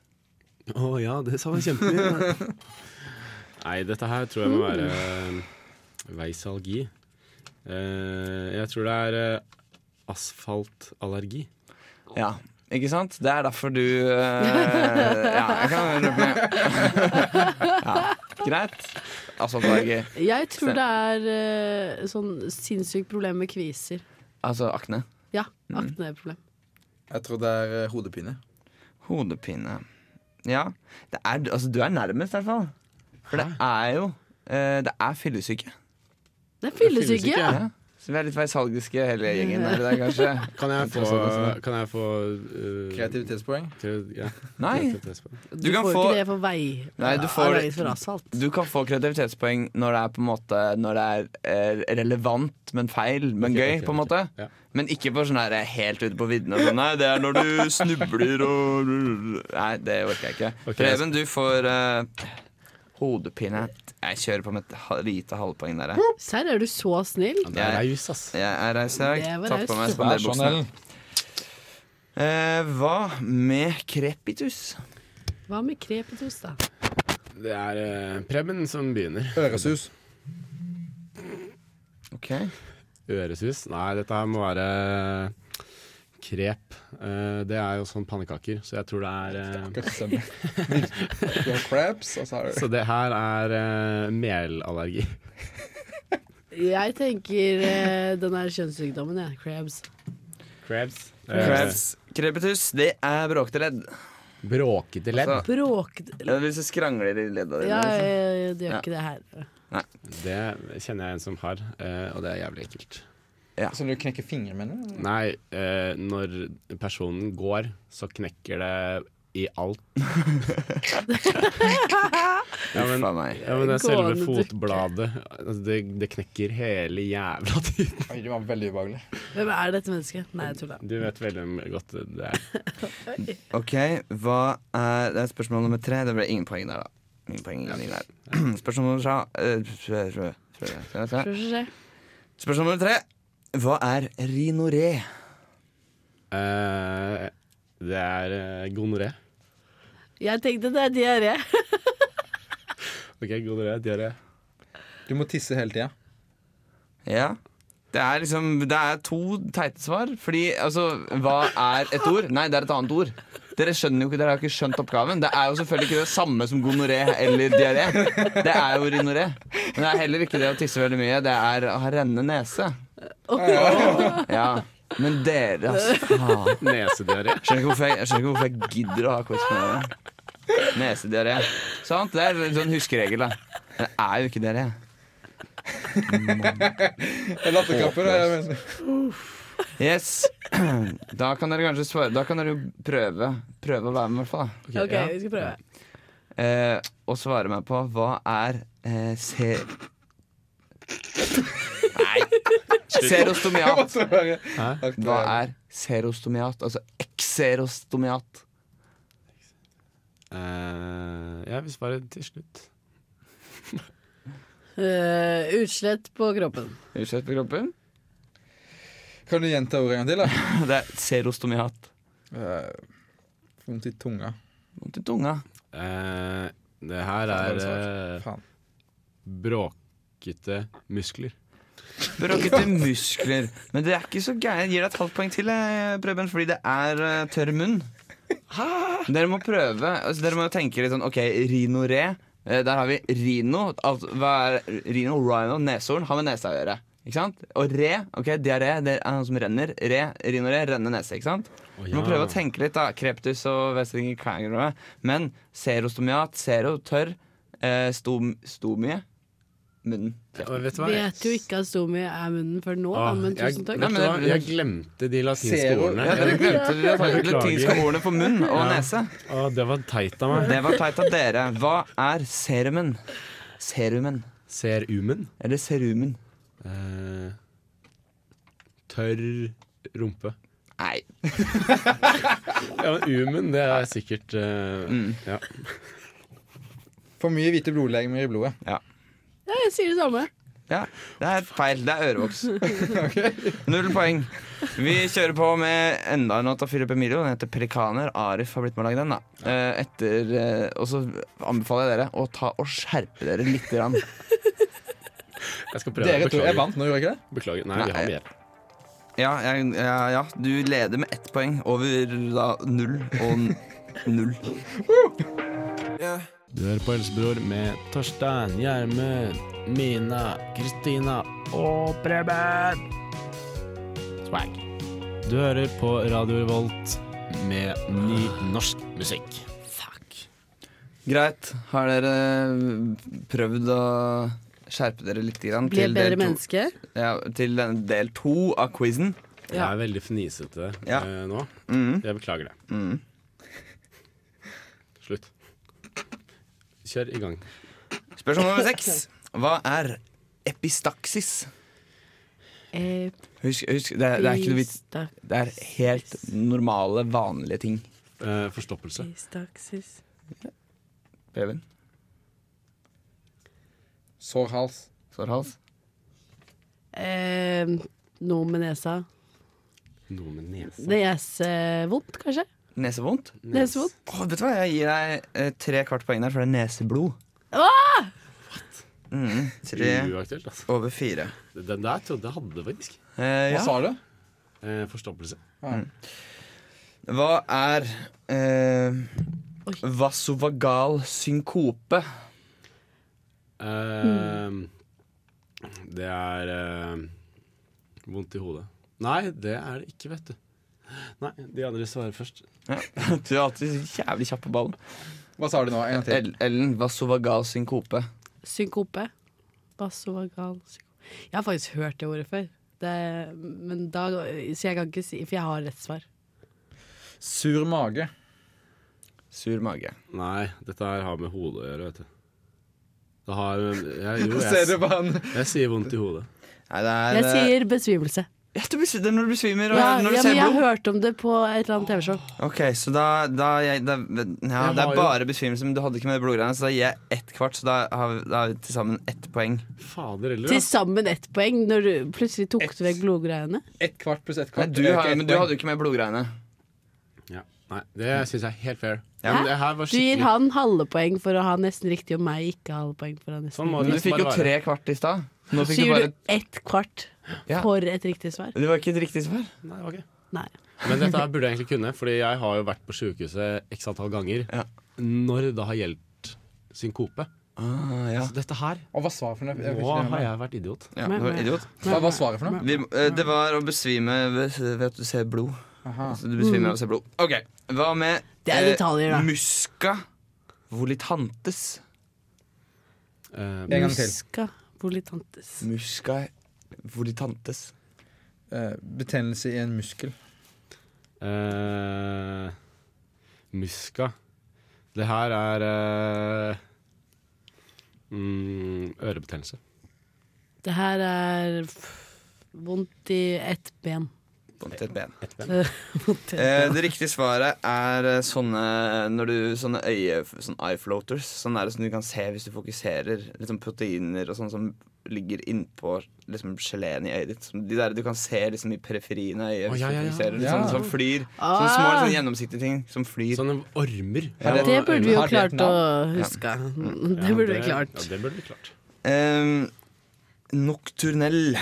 C: Å ja, det sa vi kjempemye. Nei, dette her tror jeg må være eh, veisalgi. Eh, jeg tror det er eh, asfaltallergi.
B: Ja, ikke sant? Det er derfor du eh, Ja, jeg kan røpe med. Ja, greit. Altså, Asfaltallergi.
G: Jeg tror det er eh, sånn sinnssykt problem med kviser.
B: Altså akne.
G: Ja,
B: Mm.
G: akneproblem.
D: Jeg tror det er eh, hodepine.
B: Hodepine. Ja. Det er, altså, du er nærmest, i hvert fall. For det er jo eh, Det er fyllesyke.
G: Det er fyllesyke!
C: fyllesyke,
G: ja.
B: Ja. Så vi er litt veisalgiske hele gjengen der, der kanskje.
C: Kan jeg få, kan jeg få eh,
D: Kreativitetspoeng.
C: kre- Ja,
B: Nei,
C: kreativitetspoeng.
G: Du,
B: kan
G: får
B: få-
G: ikke det for vei.
B: Nei, du får-
G: Arbeid for asfalt.
B: du kan få kreativitetspoeng når det er på en måte Når det er eh, relevant, men feil, men
C: Ok,
B: gøy,
C: ok,
B: på en måte.
C: ok. Ja.
B: Men ikke på sånn her helt ute på viddene. og sånn, Nei, det er når du snubler og Nei, det orker jeg ikke.
C: Ok.
B: Preben, du får eh, hodepine. Jeg kjører på med et ha- lite halvpoeng der, jeg.
G: Serr, er du så snill?
C: Ja, det er raus, ass.
B: Jeg er raus i dag.
G: Det var
B: Tatt på meg
G: raust.
D: Vær sånn,
B: spanderbuksene.
D: Ellen.
B: Eh, hva med krepitus?
G: Hva med krepitus, da?
C: Det er eh, Preben som begynner.
D: Øresus.
B: Ok
C: Øresus? Nei, dette her må være eh, krep. Eh, det er jo sånn pannekaker, så jeg tror det er eh,
D: Du har crabs, og så har
C: Så det her er eh, melallergi.
G: Jeg tenker eh, den der kjønnssykdommen, jeg. Crabs.
C: Crabs.
B: Krebs. Krepitus, det er bråkete ledd.
C: Bråkete ledd.
B: Altså,
G: Bråk...
B: ja, hvis du skrangler i ledda dine.
G: Ja,
B: liksom.
G: eh, det gjør
B: Ja.
G: ikke det her.
C: Det kjenner jeg en som har, eh, og det er jævlig ekkelt.
D: Så du knekker fingre med den?
C: Nei, eh, når personen går, så knekker det i alt. ja, men,
B: Faen meg.
C: ja, men det er selve
G: Gående dukke.
C: fotbladet. Altså, Det, det knekker hele jævla tiden.
D: Oi, det var veldig ubehagelig.
G: Hvem er dette mennesket? Nei, jeg tulla.
C: Du vet veldig godt det er.
B: Ok, hva er Det er spørsmål nummer tre. Det ble ingen poeng der, da. Ingen poeng, ingen der. Spørsmål nummer tre eh, tre- tre- tre- tre- tre.
G: Tror ikke det.
B: Spørsmål nummer tre. Hva er rinoré?
C: Eh, det er eh, gonoré.
G: Jeg tenkte det er diaré.
C: Ok, gonoré, diaré.
D: Du må tisse hele tida.
B: Ja. Det er liksom Det er to teite svar. Fordi altså, hva er et ord? Nei, det er et annet ord. Dere skjønner jo ikke, dere har ikke skjønt oppgaven. Det er jo selvfølgelig ikke det samme som gonoré eller diaré. Det er jo rinoré. Men det er heller ikke det å tisse veldig mye. Det er å ha rennende nese. Ja. Men dere, altså. Faen.
C: Nesediaré.
B: Skjønner ikke hvorfor jeg, jeg skjønner ikke hvorfor jeg gidder å ha quiz med dere. Nesediaré. Sant? Det er en sånn huskeregel, da. Men det er jo ikke diaré.
D: Latterkramper.
B: Yes. Da kan dere kanskje svare Da kan dere jo prøve Prøve å være med, i hvert fall. da.
G: OK, vi skal prøve.
B: Eh, og svare meg på hva er eh, se... Nei. Serostomiat. Hva er serostomiat? Altså ekserostomiat.
C: Eh, jeg vil svare til slutt.
G: Eh, utslett på kroppen.
B: Utslett på kroppen?
D: Kan du gjenta ordet en gang til? da?
B: Det er serostomiat.
D: Uh, Vondt i tunga.
B: Vondt i tunga.
C: Eh, det her er eh,
D: Faen.
C: bråkete muskler.
B: Bråkete muskler. Men det er ikke så gærent. Gir deg et halvt poeng til, eh, Preben, fordi det er eh, tørr munn. Dere må prøve. Altså, dere må jo tenke litt sånn OK, rino-re. Eh, Der har vi rino. Alt, hva er rino, rhino, neshorn har med nesa å gjøre. Ikke sant? Og re, ok, diaré, det er han som renner. Re, rino-re, renne nese. Ikke sant? Du må prøve å tenke litt, da. Kreptus og Westringer Kangaroo. Men serostomiat, sero, tørr. Eh, stom, stomie. Munnen.
C: Og vet du hva?
G: Vet jo ikke at stomi er munnen før nå, da,
C: Åh,
G: men
C: jeg-
G: tusen
B: Nei,
G: takk.
C: Vet
B: men
C: du hva?
B: det-
C: Jeg glemte de latinske
B: Zero.
C: ordene.
B: Ja, dere glemte de
C: Beklager.
B: latinske ordene for munn og nese.
C: Å, det var teit av meg.
B: Det var teit av dere. Hva er serumen? Serumen.
C: Serumen.
B: Eller serumen.
C: Eh, tørr rumpe.
B: Nei.
C: Ja, men umen, det er sikkert eh, ja.
D: For mye hvite blodlegemer i blodet.
G: Ja, jeg sier det samme.
B: Ja, det er feil. Det er ørevoks. Null poeng. Vi kjører på med enda en låt av Philip Emilio. Den heter 'Pelikaner'. Arif har blitt med å lage den. da Eh, Etter, eh, Og så anbefaler jeg dere å ta og skjerpe dere litt. Grann.
C: Jeg skal prøve.
D: Dere to
C: beklager.
D: jeg vant nå, gjorde jeg ikke det?
C: Beklager. Nei, vi
B: Nei.
C: har mer.
B: Ja, jeg, ja, ja, du leder med ett poeng over da null og n- null.
H: Du hører på Helsebror med Torstein, Gjermund, Mina, Kristina og Preben. Swag. Du hører på Radio Revolt med ny norsk musikk. Fuck.
B: Greit. Har dere eh, prøvd å skjerpe dere litt? Grann,
G: Bli et bedre
B: del to-
G: menneske.
B: Ja, til den del to av quizen. Mm.
C: Jeg er veldig fnisete
B: Ja.
C: eh, nå. Jeg beklager det.
D: Mm.
C: Slutt. Kjør i gang.
B: Spørsmål nummer seks. Hva er epistaksis?
G: Eh,
B: Husk, husk det, er, det er ikke noe vits.
G: pistak-
B: Det er helt normale, vanlige ting.
C: Eh, forstoppelse.
G: pistaksis.
B: Preben?
D: Sår hals.
B: Sårhals?
G: Eh, noe med nesa.
C: Noe med nesa.
G: Nesevondt, kanskje?
B: Nesevondt?
G: Nesevondt.
B: Åh, vet du hva, jeg gir deg eh, tre kvart poeng der, for det er neseblod. Mm, tre
C: Uaktuelt, altså.
B: over fire.
C: Den der trodde jeg hadde, faktisk.
B: Eh,
D: Hva
B: ja.
D: sa du?
C: Eh, forstoppelse.
B: Hva er eh,
G: Oi.
B: vasovagal synkope?
C: Eh,
D: Mm.
C: Det er eh, vondt i hodet. Nei, det er det ikke, vet du. Nei, de andre svarer først.
B: Du er alltid så jævlig kjapp på ballen.
D: Hva sa du nå? En gang til.
B: El- Ellen, vasovagal synkope.
G: Synkope. Basovagal synkope. Jeg har faktisk hørt det ordet før. Det, men da, så jeg kan ikke si For jeg har rett svar.
D: Sur mage.
B: Sur mage.
C: Nei, dette her har med hodet å gjøre, vet du. Det har eh, jeg, Jo,
D: Ser du
C: jeg,
D: på han?
C: jeg sier vondt i hodet.
B: Nei, det er
G: Jeg sier besvimelse.
B: eh, ja, du besv- det er når du besvimer og
G: Ja,
B: når du
G: ja, men
B: ser
G: jeg
B: blod.
G: hørte om det på et eller annet TV-show.
B: Ok, så da, da, jeg, da ja,
C: Jeg
B: Det
C: har
B: er
C: jo-
B: bare besvimelse, men du hadde ikke med det blodgreiene, så da gir jeg ett kvart. Så da har vi, da har vi til sammen ett poeng.
C: Fader heller,
G: Til
C: altså.
G: sammen ett poeng når du plutselig tok
D: Ett.
G: du vekk blodgreiene.
D: Ett kvart pluss ett
B: Nei,
D: kvart.
B: du
D: Det er
B: har,
D: ikke ett
B: men du
D: poeng.
B: hadde jo ikke med blodgreiene.
C: altså. Ja. Nei, det syns jeg er helt fair.
B: Ja.
C: Men det her var
G: Du gir
C: skikkelig
G: han halve poeng for å ha nesten riktig, og meg ikke halve poeng for å ha nesten
C: Sånn må
G: riktig.
B: Men du fikk jo tre kvart i stad. Nå
G: Så
B: fikk du
G: gir
B: bare
G: du ett kvart
B: Ja.
G: for et riktig svar.
B: Det var ikke et riktig svar.
C: Nei, det var ikke.
G: Nei.
C: Men dette her burde jeg egentlig kunne, Fordi jeg har jo vært på sjukehuset x antall ganger
B: Ja.
C: når det har gjeldt synkope.
B: Ah, ja.
C: Så dette her
D: Og hva svaret for noe? Jeg fikk
C: Nå
D: ikke det
C: har
D: med meg.
C: jeg vært idiot.
B: ja du var idiot.
D: Hva var svaret for noe?
B: Vi, eh, det var å besvime ved, ved at du ser blod.
D: Aha.
B: Altså, du besvimer
C: Mm.
B: av å se blod. Ok, Hva med
G: Det er detaljer, da.
B: musca volitantes?
C: Eh,
D: En gang til.
G: Ska volitantes.
B: Musca volitantes.
D: Eh, betennelse i en muskel.
C: eh, muska. Det her er eh, mm, ørebetennelse.
G: Det her er f- vondt i ett ben.
B: Vondt i et ben.
G: Vondt i ett
B: Eh, det riktige svaret er eh, sånne, når du, sånne øye... Sånn eye floaters. Sånn er det som du kan se hvis du fokuserer. Litt sånn proteiner og sånn som ligger innpå liksom, geleen i øyet ditt. Som De der du kan se liksom, i periferien av øyet.
C: Å,
B: Hvis
C: ja, ja, ja.
B: du fokuserer
D: Ja.
B: Sånne som flyr. Sånne små,
G: Ah.
B: sånn gjennomsiktige ting som flyr.
C: Sånne ormer.
B: Ja,
G: Det burde vi jo
D: Har det et
G: klart å huske. Det
C: Ja,
G: burde vi klart.
C: Ja, det burde vi klart.
B: Ehm, Nokturnell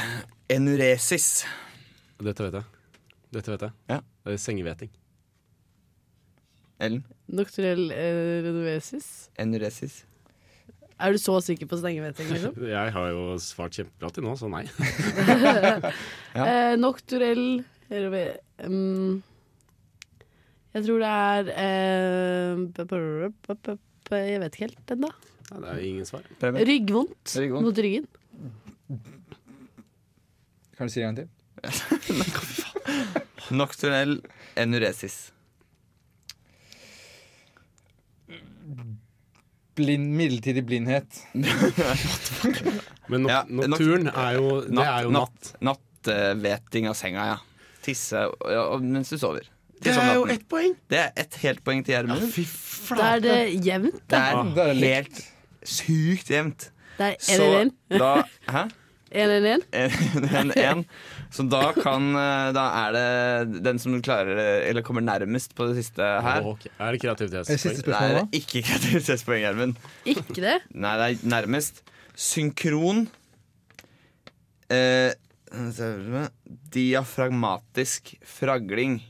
B: enuresis.
C: Dette vet jeg. Dette vet jeg.
B: Ja.
C: Det er Sengehveting.
B: Ellen,
G: Nocturell eh, renovesis.
B: enuresis.
G: Er du så sikker på stengeveting, liksom?
C: Jeg har jo svart kjempebra til nå, så nei.
B: Ja.
G: Eh, nocturell renove- mm, Jeg tror det er eh, b- b- b- b- b- Jeg vet ikke helt ennå.
C: Nei, Det er jo ingen svar.
B: Preben.
G: Ryggvondt
B: Ryggvondt.
G: mot ryggen.
D: Kan du si det en gang til?
B: Nokturnell enuresis.
D: Blind, midlertidig blindhet.
C: Men nok-
B: Ja,
C: naturen er jo Det er jo natt.
B: Nattveting eh, av senga, ja. Tisse ja, og- mens du sover.
C: Det
B: Tisse om
C: er jo
B: natten.
C: ett poeng!
B: det er ett helt poeng til
C: Ja,
B: Gjermund.
C: fy
G: Da er
C: flate!
G: det jevnt.
B: Det
D: Ah, da er
B: er
D: det likt.
B: helt sykt jevnt.
G: Det er
B: Så
G: 1-1-1.
B: da Hæ?
G: 1-1-1.
B: En- en- en. Så da kan eh, Da er det den som klarer det- Eller kommer nærmest på det siste her.
C: Ok, Er det
D: Er det siste
C: kreativitetspoeng?
B: Det er
D: spørsmål, da?
B: ikke kreativitetspoeng, Gjermund.
G: Ikke det?
B: Nei, det er nærmest. Synkron. Eh, diafragmatisk fragling.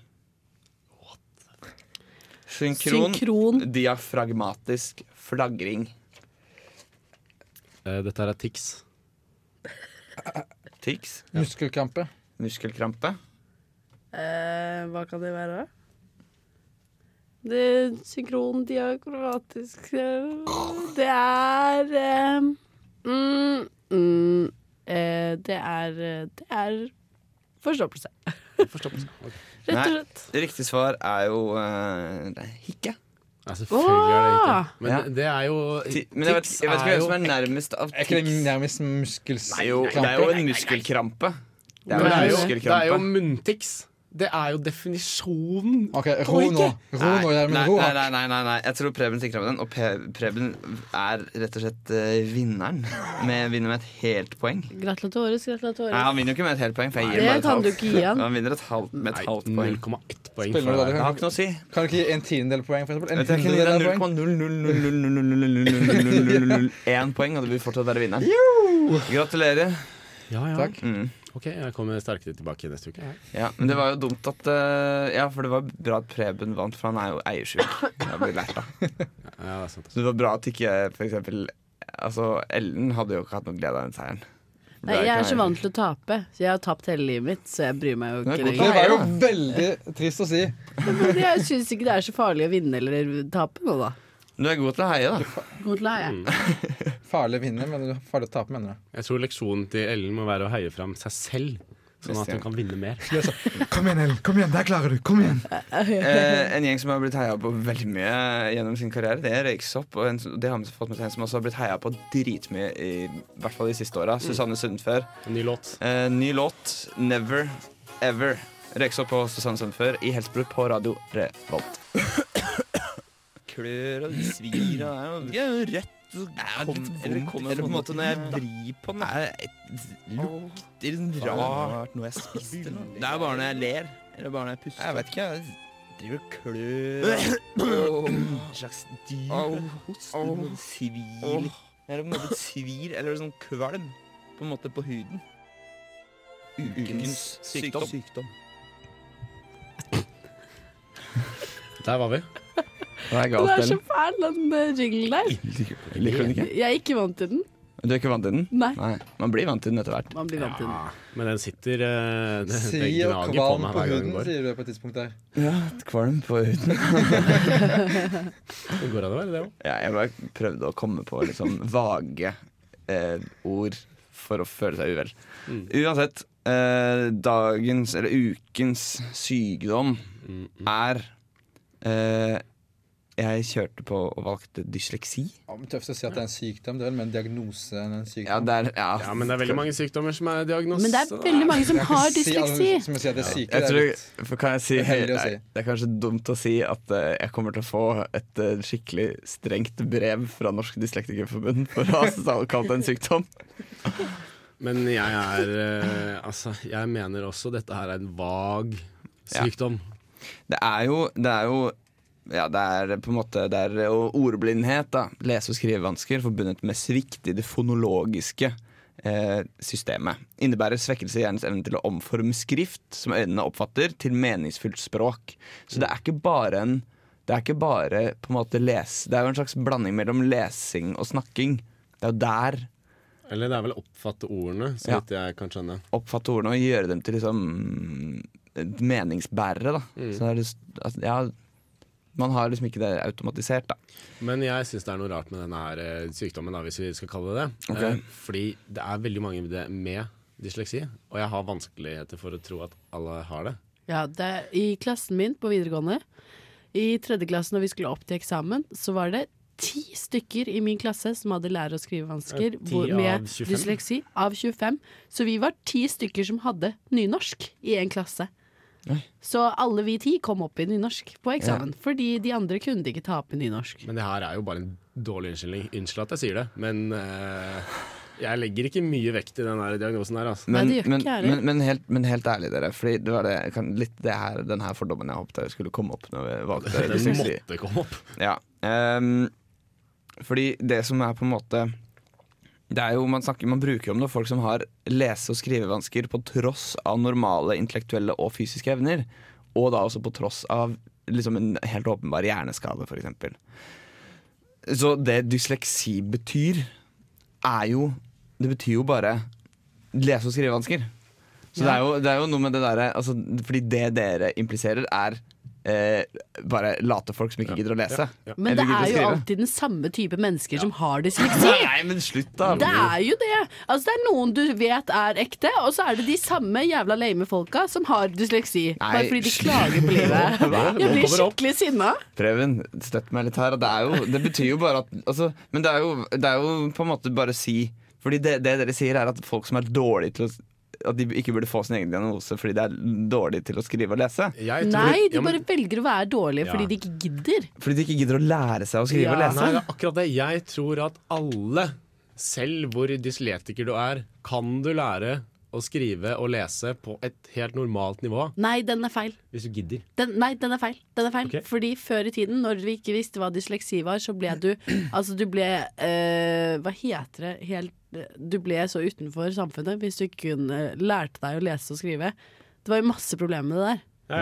B: Synkron,
G: Synkron.
B: diafragmatisk flagring.
C: Eh, Dette her er tics.
B: Tics.
D: Muskelkrampe.
B: Muskelkrampe.
G: Eh, hva kan det være? Det synkrondiakromatisk Det er eh, mm, mm, eh, Det er Det er forstoppelse.
C: Forstoppelse. Ok.
G: Rett og
B: Nei.
G: slett.
B: Riktig svar er jo eh, det er hikke.
C: Nei, selvfølgelig er det
G: Åh!
C: ikke Men
B: Ja.
C: det er jo
B: Ti, men jeg vet,
C: tics
B: jeg vet ikke
C: er
B: hvem som
C: jo-
B: er nærmest av
D: Er ikke det
B: tics.
D: nærmest
B: Det er jo, det er jo
D: muskelkrampe?
B: en muskelkrampe. Det
C: Men
B: er jo
C: det er
B: en
C: jo, det er jo
B: muskelkrampe.
C: munntics. Det er jo definisjonen.
D: OK, ro nå. Ro nå,
B: nei,
D: Gjermund.
B: nei,
D: Ro.
B: nei, nei, nei, nei, jeg tror Preben stikker av med den. Og Pe- Preben er rett og slett eh, vinneren. Med, vinner med et helt poeng.
G: Gratulatores,
B: Nei,
G: gratulatores.
B: han vinner jo ikke med et helt poeng. For jeg gir
G: Det
B: ham bare et
G: kan
B: halvt.
G: du ikke gi han.
B: Han vinner et halvt, med
C: Nei,
B: et halvt poeng.
C: 0,1 poeng.
D: Spiller
C: for
D: du da,
B: Det
D: du?
B: har ikke noe å si.
D: Kan du ikke gi en tiendedel poeng, for eksempel? En
B: Vet du, Jeg kan gi
D: hundredel poeng?
B: deg 0,000001 poeng, og du vil fortsatt være vinneren. Gratulerer.
C: Ja, ja.
D: Takk.
B: Mm.
C: Ok, jeg kommer sterkere tilbake neste uke.
B: Ja, men det var jo dumt at eh, Ja, for det var bra at Preben vant, for han er jo eiersjuk. Det blir lært av.
C: Ja, det er sant. altså.
B: Så det var bra at ikke f.eks. Altså, Ellen hadde jo ikke hatt noe glede av den seieren.
G: Nei, jeg er så vant til å tape, så jeg har tapt hele livet mitt. Så jeg bryr meg jo
B: Det er godt
G: ikke
D: Det
G: lenger.
D: var jo veldig trist å si.
G: Men Jeg syns ikke det er så farlig å vinne eller tape nå, da.
B: Du er god til å heie, da.
G: God til å ha,
B: Mm.
G: jeg.
D: Farlig å vinne, men farlig å tape, mener du?
C: Jeg tror leksjonen til Ellen må være å heie fram seg selv, sånn at hun kan vinne mer.
D: Kom igjen, Ellen. Kom igjen, der klarer du. Kom igjen.
B: Eh, en gjeng som har blitt heia på veldig mye gjennom sin karriere, det er Røyksopp. Og en, som- det har vi fått med seg en som også har blitt heia på dritmye, i, i hvert fall de siste åra. Susanne Sundfør.
C: Ny låt.
B: Eh, ny låt, 'Never Ever'. Røyksopp på Susanne Sundfør i Helsebro på Radio Revolt. Klør og svir og det er jo rødt. Eller kommer på en måte når jeg vrir på den. lukter rart noe jeg spiste. Det er bare når jeg ler. Eller bare når jeg puster. Jeg vet ikke. Jeg driver og klør. En slags dyr host. Noe svir. Det er på en måte et svir eller sånn kvalm på en måte på huden. Ukens sykdom.
C: Der var vi.
B: Det er
G: Den er så fæl, den eh, jinglen der.
B: Liker du den ikke?
G: Jeg er ikke vant til den.
B: Du er ikke vant til den?
G: Nei.
B: Nei, Man blir vant til den etter hvert.
G: Man blir vant til den.
C: Ja, men den sitter eh, Det det
D: Si
C: gnager
D: og
C: på
D: kvalm
C: meg
D: på
C: hver gang
D: huden,
C: den går.
D: sier du på et tidspunkt der.
B: Ja, et kvalm på huden.
C: Det går an å være det òg.
B: Ja, jeg bare prøvde å komme på liksom vage eh, ord for å føle seg uvel.
C: Mm.
B: Uansett, eh, dagens, eller ukens sykdom er eh, Jeg kjørte på og valgte dysleksi.
D: Ja, men Tøft å si at det er en sykdom. Det er vel mer en diagnose enn en
B: Ja,
D: sykdom.
B: det er, ja.
C: Ja, men det er veldig mange sykdommer som er
G: Men det
C: diagnoser.
G: er veldig mange som
D: Jeg kan
G: har
D: si-
G: dysleksi.
D: Som å si at det er syke,
B: Jeg
D: det er
B: tror,
D: litt-
B: for kan jeg si,
D: Det er heldig å
B: nei,
D: si.
B: det er kanskje dumt å si at eh, jeg kommer til å få et eh, skikkelig strengt brev fra Norsk Dyslektikerforbund for å ha kalt det en sykdom.
C: Men jeg er eh, Altså, jeg mener også dette her er en vag sykdom.
B: Det er jo, det er jo ja, det er på en måte det er jo ordblindhet, da. Lese- og skrivevansker forbundet med svikt i det fonologiske eh, systemet. Innebærer svekkelse i hjernens evne til å omforme skrift, som øynene oppfatter, til meningsfylt språk. Så det er ikke bare en Det er ikke bare på en måte les... Det er jo en slags blanding mellom lesing og snakking. Det er jo der
C: Eller det er vel å oppfatte ordene, så
B: Ja.
C: vidt jeg kan skjønne.
B: oppfatte ordene og gjøre dem til liksom mm, meningsbærere, da. Så det er liksom, at- ja, man har liksom ikke det automatisert, da.
C: Men jeg syns det er noe rart med denne her eh, sykdommen, da, hvis vi skal kalle det det.
B: Ok.
C: Eh, Fordi det er veldig mange med det- med dysleksi, og jeg har vanskeligheter for å tro at alle har det.
G: Ja, det, I klassen min på videregående, i tredje klasse når vi skulle opp til eksamen, så var det ti stykker i min klasse som hadde lære- og skrivevansker
C: Ja, ti
G: hvor- med
C: av 25.
G: dysleksi av 25. Så vi var ti stykker som hadde nynorsk i en klasse.
B: Oi.
G: Så alle vi ti kom opp i nynorsk på eksamen, fordi de andre kunne ikke ta opp i nynorsk.
C: Men det her er jo bare en dårlig unnskyldning. Unnskyld at jeg sier det, men eh, jeg legger ikke mye vekt i den her diagnosen her, altså.
G: Nei,
B: Men,
G: det gjør
B: men,
G: ikke jeg heller.
B: men, men, helt, men helt ærlig, dere. Fordi det var det, jeg kan, litt det her, den her fordommen jeg håpet jeg skulle komme opp når vi valgte
C: Den
B: dysleksi.
C: måtte komme opp.
B: Ja. ehm, fordi det som er på en måte det er jo, man, snakker, man bruker jo om det folk som har lese- og skrivevansker på tross av normale intellektuelle og fysiske evner. Og da også på tross av liksom en helt åpenbar hjerneskade, f.eks. Så det dysleksi betyr, er jo Det betyr jo bare lese- og skrivevansker. Så det, er jo, det er jo noe med det derre altså, Fordi det dere impliserer, er eh, bare late folk som ikke gidder å lese.
G: Men
B: Eller
G: det
B: gidder å
G: er jo
B: skrive.
G: alltid den samme type mennesker som har dysleksi.
B: Nei, men slutt, da!
G: Det er jo det. Altså, det er noen du vet er ekte, og så er det de samme jævla lame folka som har dysleksi.
B: Nei,
G: bare fordi de
B: slutt.
G: klager på livet.
B: Hva?
G: Jeg
C: kommer
G: blir
C: det opp?
G: skikkelig sinna.
B: Preben, støtt meg litt her. og Det, er jo, det betyr jo bare at altså, Men det er, jo, det er jo på en måte bare å si Fordi det, det dere sier, er at folk som er dårlige til å At de ikke burde få sin egen diagnose fordi de er dårlige til å skrive og lese.
C: Jeg tror-
G: Nei, de
C: Ja, men-
G: bare velger å være dårlige
C: Ja.
G: fordi de ikke gidder.
B: Fordi de ikke gidder å lære seg å skrive og
G: Ja.
B: lese.
C: Nei, det er akkurat det. Jeg tror at alle, selv hvor dysletiker du er, kan du lære å skrive og lese på et helt normalt nivå
G: Nei, den er feil.
C: hvis du gidder.
G: Den, nei, den er feil. Den er feil.
C: Ok.
G: Fordi før i tiden, når vi ikke visste hva dysleksi var, så ble du Altså, du ble eh, Hva heter det helt Du ble så utenfor samfunnet hvis du ikke kunne lærte deg å lese og skrive. Det var jo masse problemer med det der.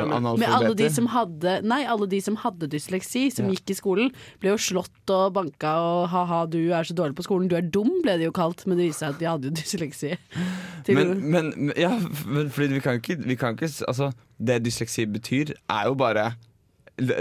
G: Med alle de som hadde Nei, alle de som hadde dysleksi, som
B: Ja.
G: gikk i skolen, ble jo slått og banka og ha-ha, du er så dårlig på skolen, du er dum, ble det jo kalt. Men det viste seg at de hadde jo dysleksi. Til-
B: Men, men, men- ja, men fordi vi kan ikke, vi kan ikke s- altså, Det dysleksi betyr, er jo bare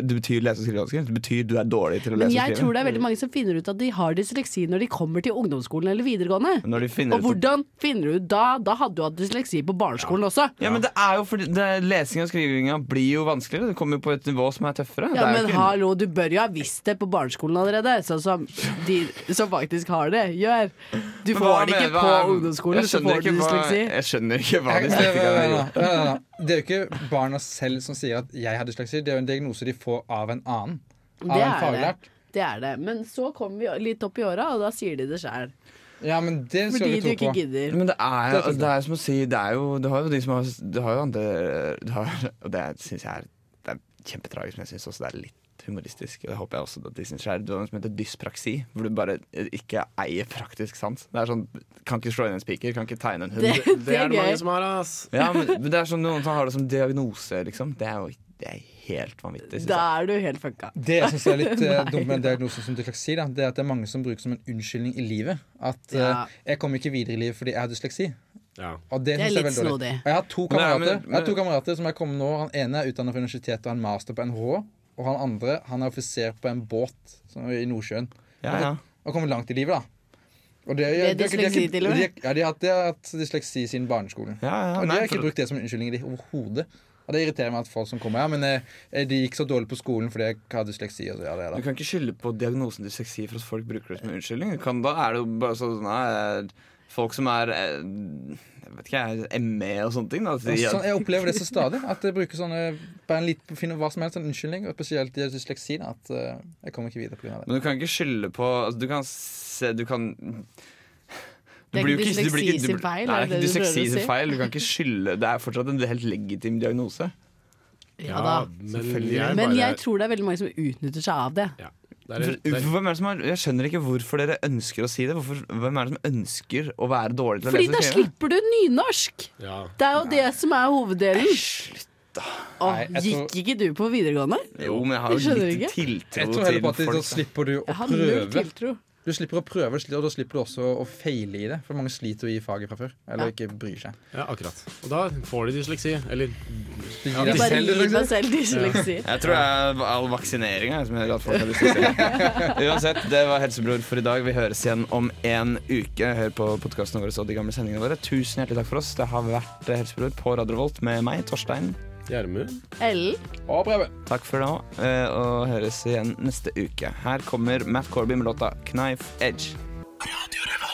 B: Det betyr lese- og skrivevansker. Det betyr du er dårlig til å
G: men
B: lese
G: jeg
B: og
G: tror
B: skrive.
G: det er veldig mange som finner ut at de har dysleksi når de kommer til ungdomsskolen eller videregående.
B: Når de finner
G: Og
B: ut at-
G: hvordan finner du ut da? Da hadde du hatt dysleksi på barneskolen også.
B: Ja, men det er jo fordi det, Lesing og skrivinga blir jo vanskeligere. Det kommer jo på et nivå som er tøffere.
G: Ja,
B: det er jo
G: men
B: ikke-
G: hallo, du bør jo ha visst det på barneskolen allerede, sånn som de som faktisk har det, gjør. Du
B: Men hva
G: får det
B: mener-
G: ikke på
B: hva- jeg
G: ungdomsskolen, så
B: skjønner
G: får du
B: ikke hva-
G: dysleksi.
B: Jeg skjønner ikke hva
D: Nei, nei,
B: dysleksi
D: nei,
B: er.
D: nei, nei, nei, nei. Det er jo ikke barna selv som sier at 'jeg har dysleksi'. Det er jo en diagnose de får av en annen. Av
G: Det
D: en
G: er det.
D: faglært.
G: Det er det. Men så kommer vi litt opp i åra, og da sier de det sjæl.
D: Ja, men det skal
G: Fordi du
D: vi tro på.
G: ikke gidder.
B: Men det er,
D: Det er
B: altså, det er som å si det er jo, Du har jo de som har Du har jo andre du har, Og det syns jeg er, det er kjempetragisk, men jeg syns også det er litt humoristisk. Og det håper jeg også at de syns er Du har noe som heter dyspraksi, hvor du bare ikke eier praktisk sans. Det er sånn Kan ikke slå inn en spiker, kan ikke tegne en hund.
G: Det,
C: Det
G: det
C: er
G: er
C: det
G: gøy.
C: mange som har, ass.
B: Ja, men, men det er som noen som har det som diagnose, liksom. Det er jo det er helt vanvittig. Synes
G: Da
B: jeg.
G: er du helt fucka.
D: Det jeg synes er litt eh, dumt med diagnosen som dysleksi, da, det er at det er mange som bruker som en unnskyldning i livet. At eh,
G: Ja.
D: 'jeg kommer ikke videre i livet fordi jeg har dysleksi'.
C: Ja.
D: Og det,
G: Det er
D: synes jeg er
G: litt
D: veldig dårlig.
G: snodig.
D: Og jeg har to
B: Men det er-
D: kamerater,
B: men-
D: jeg har to kamerater som er kommet nå. Han ene er utdannet fra universitetet og har en master på NHH. Og han andre han er offiser på en båt som er i Nordsjøen.
B: Ja, ja.
D: Og kommer langt i livet, da. Og det,
G: er dysleksi til og med.
D: de har- Ja, de har hatt, de har hatt dysleksi siden barneskolen.
B: Ja, ja,
D: og de
B: nei,
D: har ikke
B: for-
D: brukt det som en unnskyldning i det overhodet. Og det irriterer meg at folk som kommer her, men eh, de gikk så dårlig på skolen fordi jeg har dysleksi. Og så, ja, det er
B: Du
D: det.
B: kan ikke skylde på diagnosen dysleksi for at folk bruker det som en unnskyldning. Du Kan, da er det jo bare sånn nei, det er folk som er eh, jeg vet ikke, jeg, ME og sånne ting. Da, at de,
D: Og Sånn, jeg opplever det så stadig. At jeg bruker sånne bare en litt, finner hva som helst en unnskyldning. Og spesielt i dysleksi. da, At eh, jeg kommer ikke videre pga. det.
B: men du kan ikke skylde på altså, Du kan se Du kan
G: Det er
B: blir
G: ikke
B: jo du blir
G: dysleksi sin feil,
B: Nei, det
G: er
B: er ikke
G: det det du
B: dysleksi
G: prøver å si?
B: sin feil. Du kan ikke skylde Det er fortsatt en helt legitim diagnose.
G: Ja da.
C: men
B: Selvfølgelig.
C: jeg,
G: Men
C: bare,
G: jeg tror det er veldig mange som utnytter seg av det.
C: Ja. Det er, det er,
B: Hvem er det som har, jeg skjønner ikke hvorfor dere ønsker å si det. Hvorfor, hvem er det som ønsker å være dårlig til å
G: Fordi
B: lese
G: da
B: og skrive?
G: slipper du nynorsk!
C: ja.
G: Det er jo det som er hoveddelen.
B: Slutt.
G: Å,
D: Nei, jeg tror-
G: gikk ikke du på videregående?
B: Jo, men jeg har
G: Jeg
B: jo
G: skjønner
B: litt
G: ikke.
B: tiltro
D: Jeg tror
B: til
D: heller på at da
B: folk. da.
D: slipper du å
G: Jeg har null
D: prøve.
G: tiltro.
D: Du slipper å prøve, og da slipper du også å feile i det. For mange sliter jo i faget fra før. Eller ikke bryr seg.
C: ja, akkurat. Og da får de dysleksi. Eller
D: Du
B: Ja,
D: gir
B: de
D: deg
G: Bare
D: selv liksom?
G: gi meg
D: dysleksi.
G: selv dysleksi.
B: Jeg tror det er all vaksineringa som gjør at folk har lyst til å se det. Uansett, det var Helsebror for i dag. Vi høres igjen om en uke. Hør på podkastene våre og de gamle sendingene våre. Tusen hjertelig takk for oss. Det har vært eh, Helsebror på Radio Volt med meg, Torstein.
C: Gjermund.
G: Ellen?
D: Og prøve.
B: Takk for nå, eh, og høres igjen neste uke. Her kommer Matt Corby med låta 'Knife Edge'. Radio Revolt.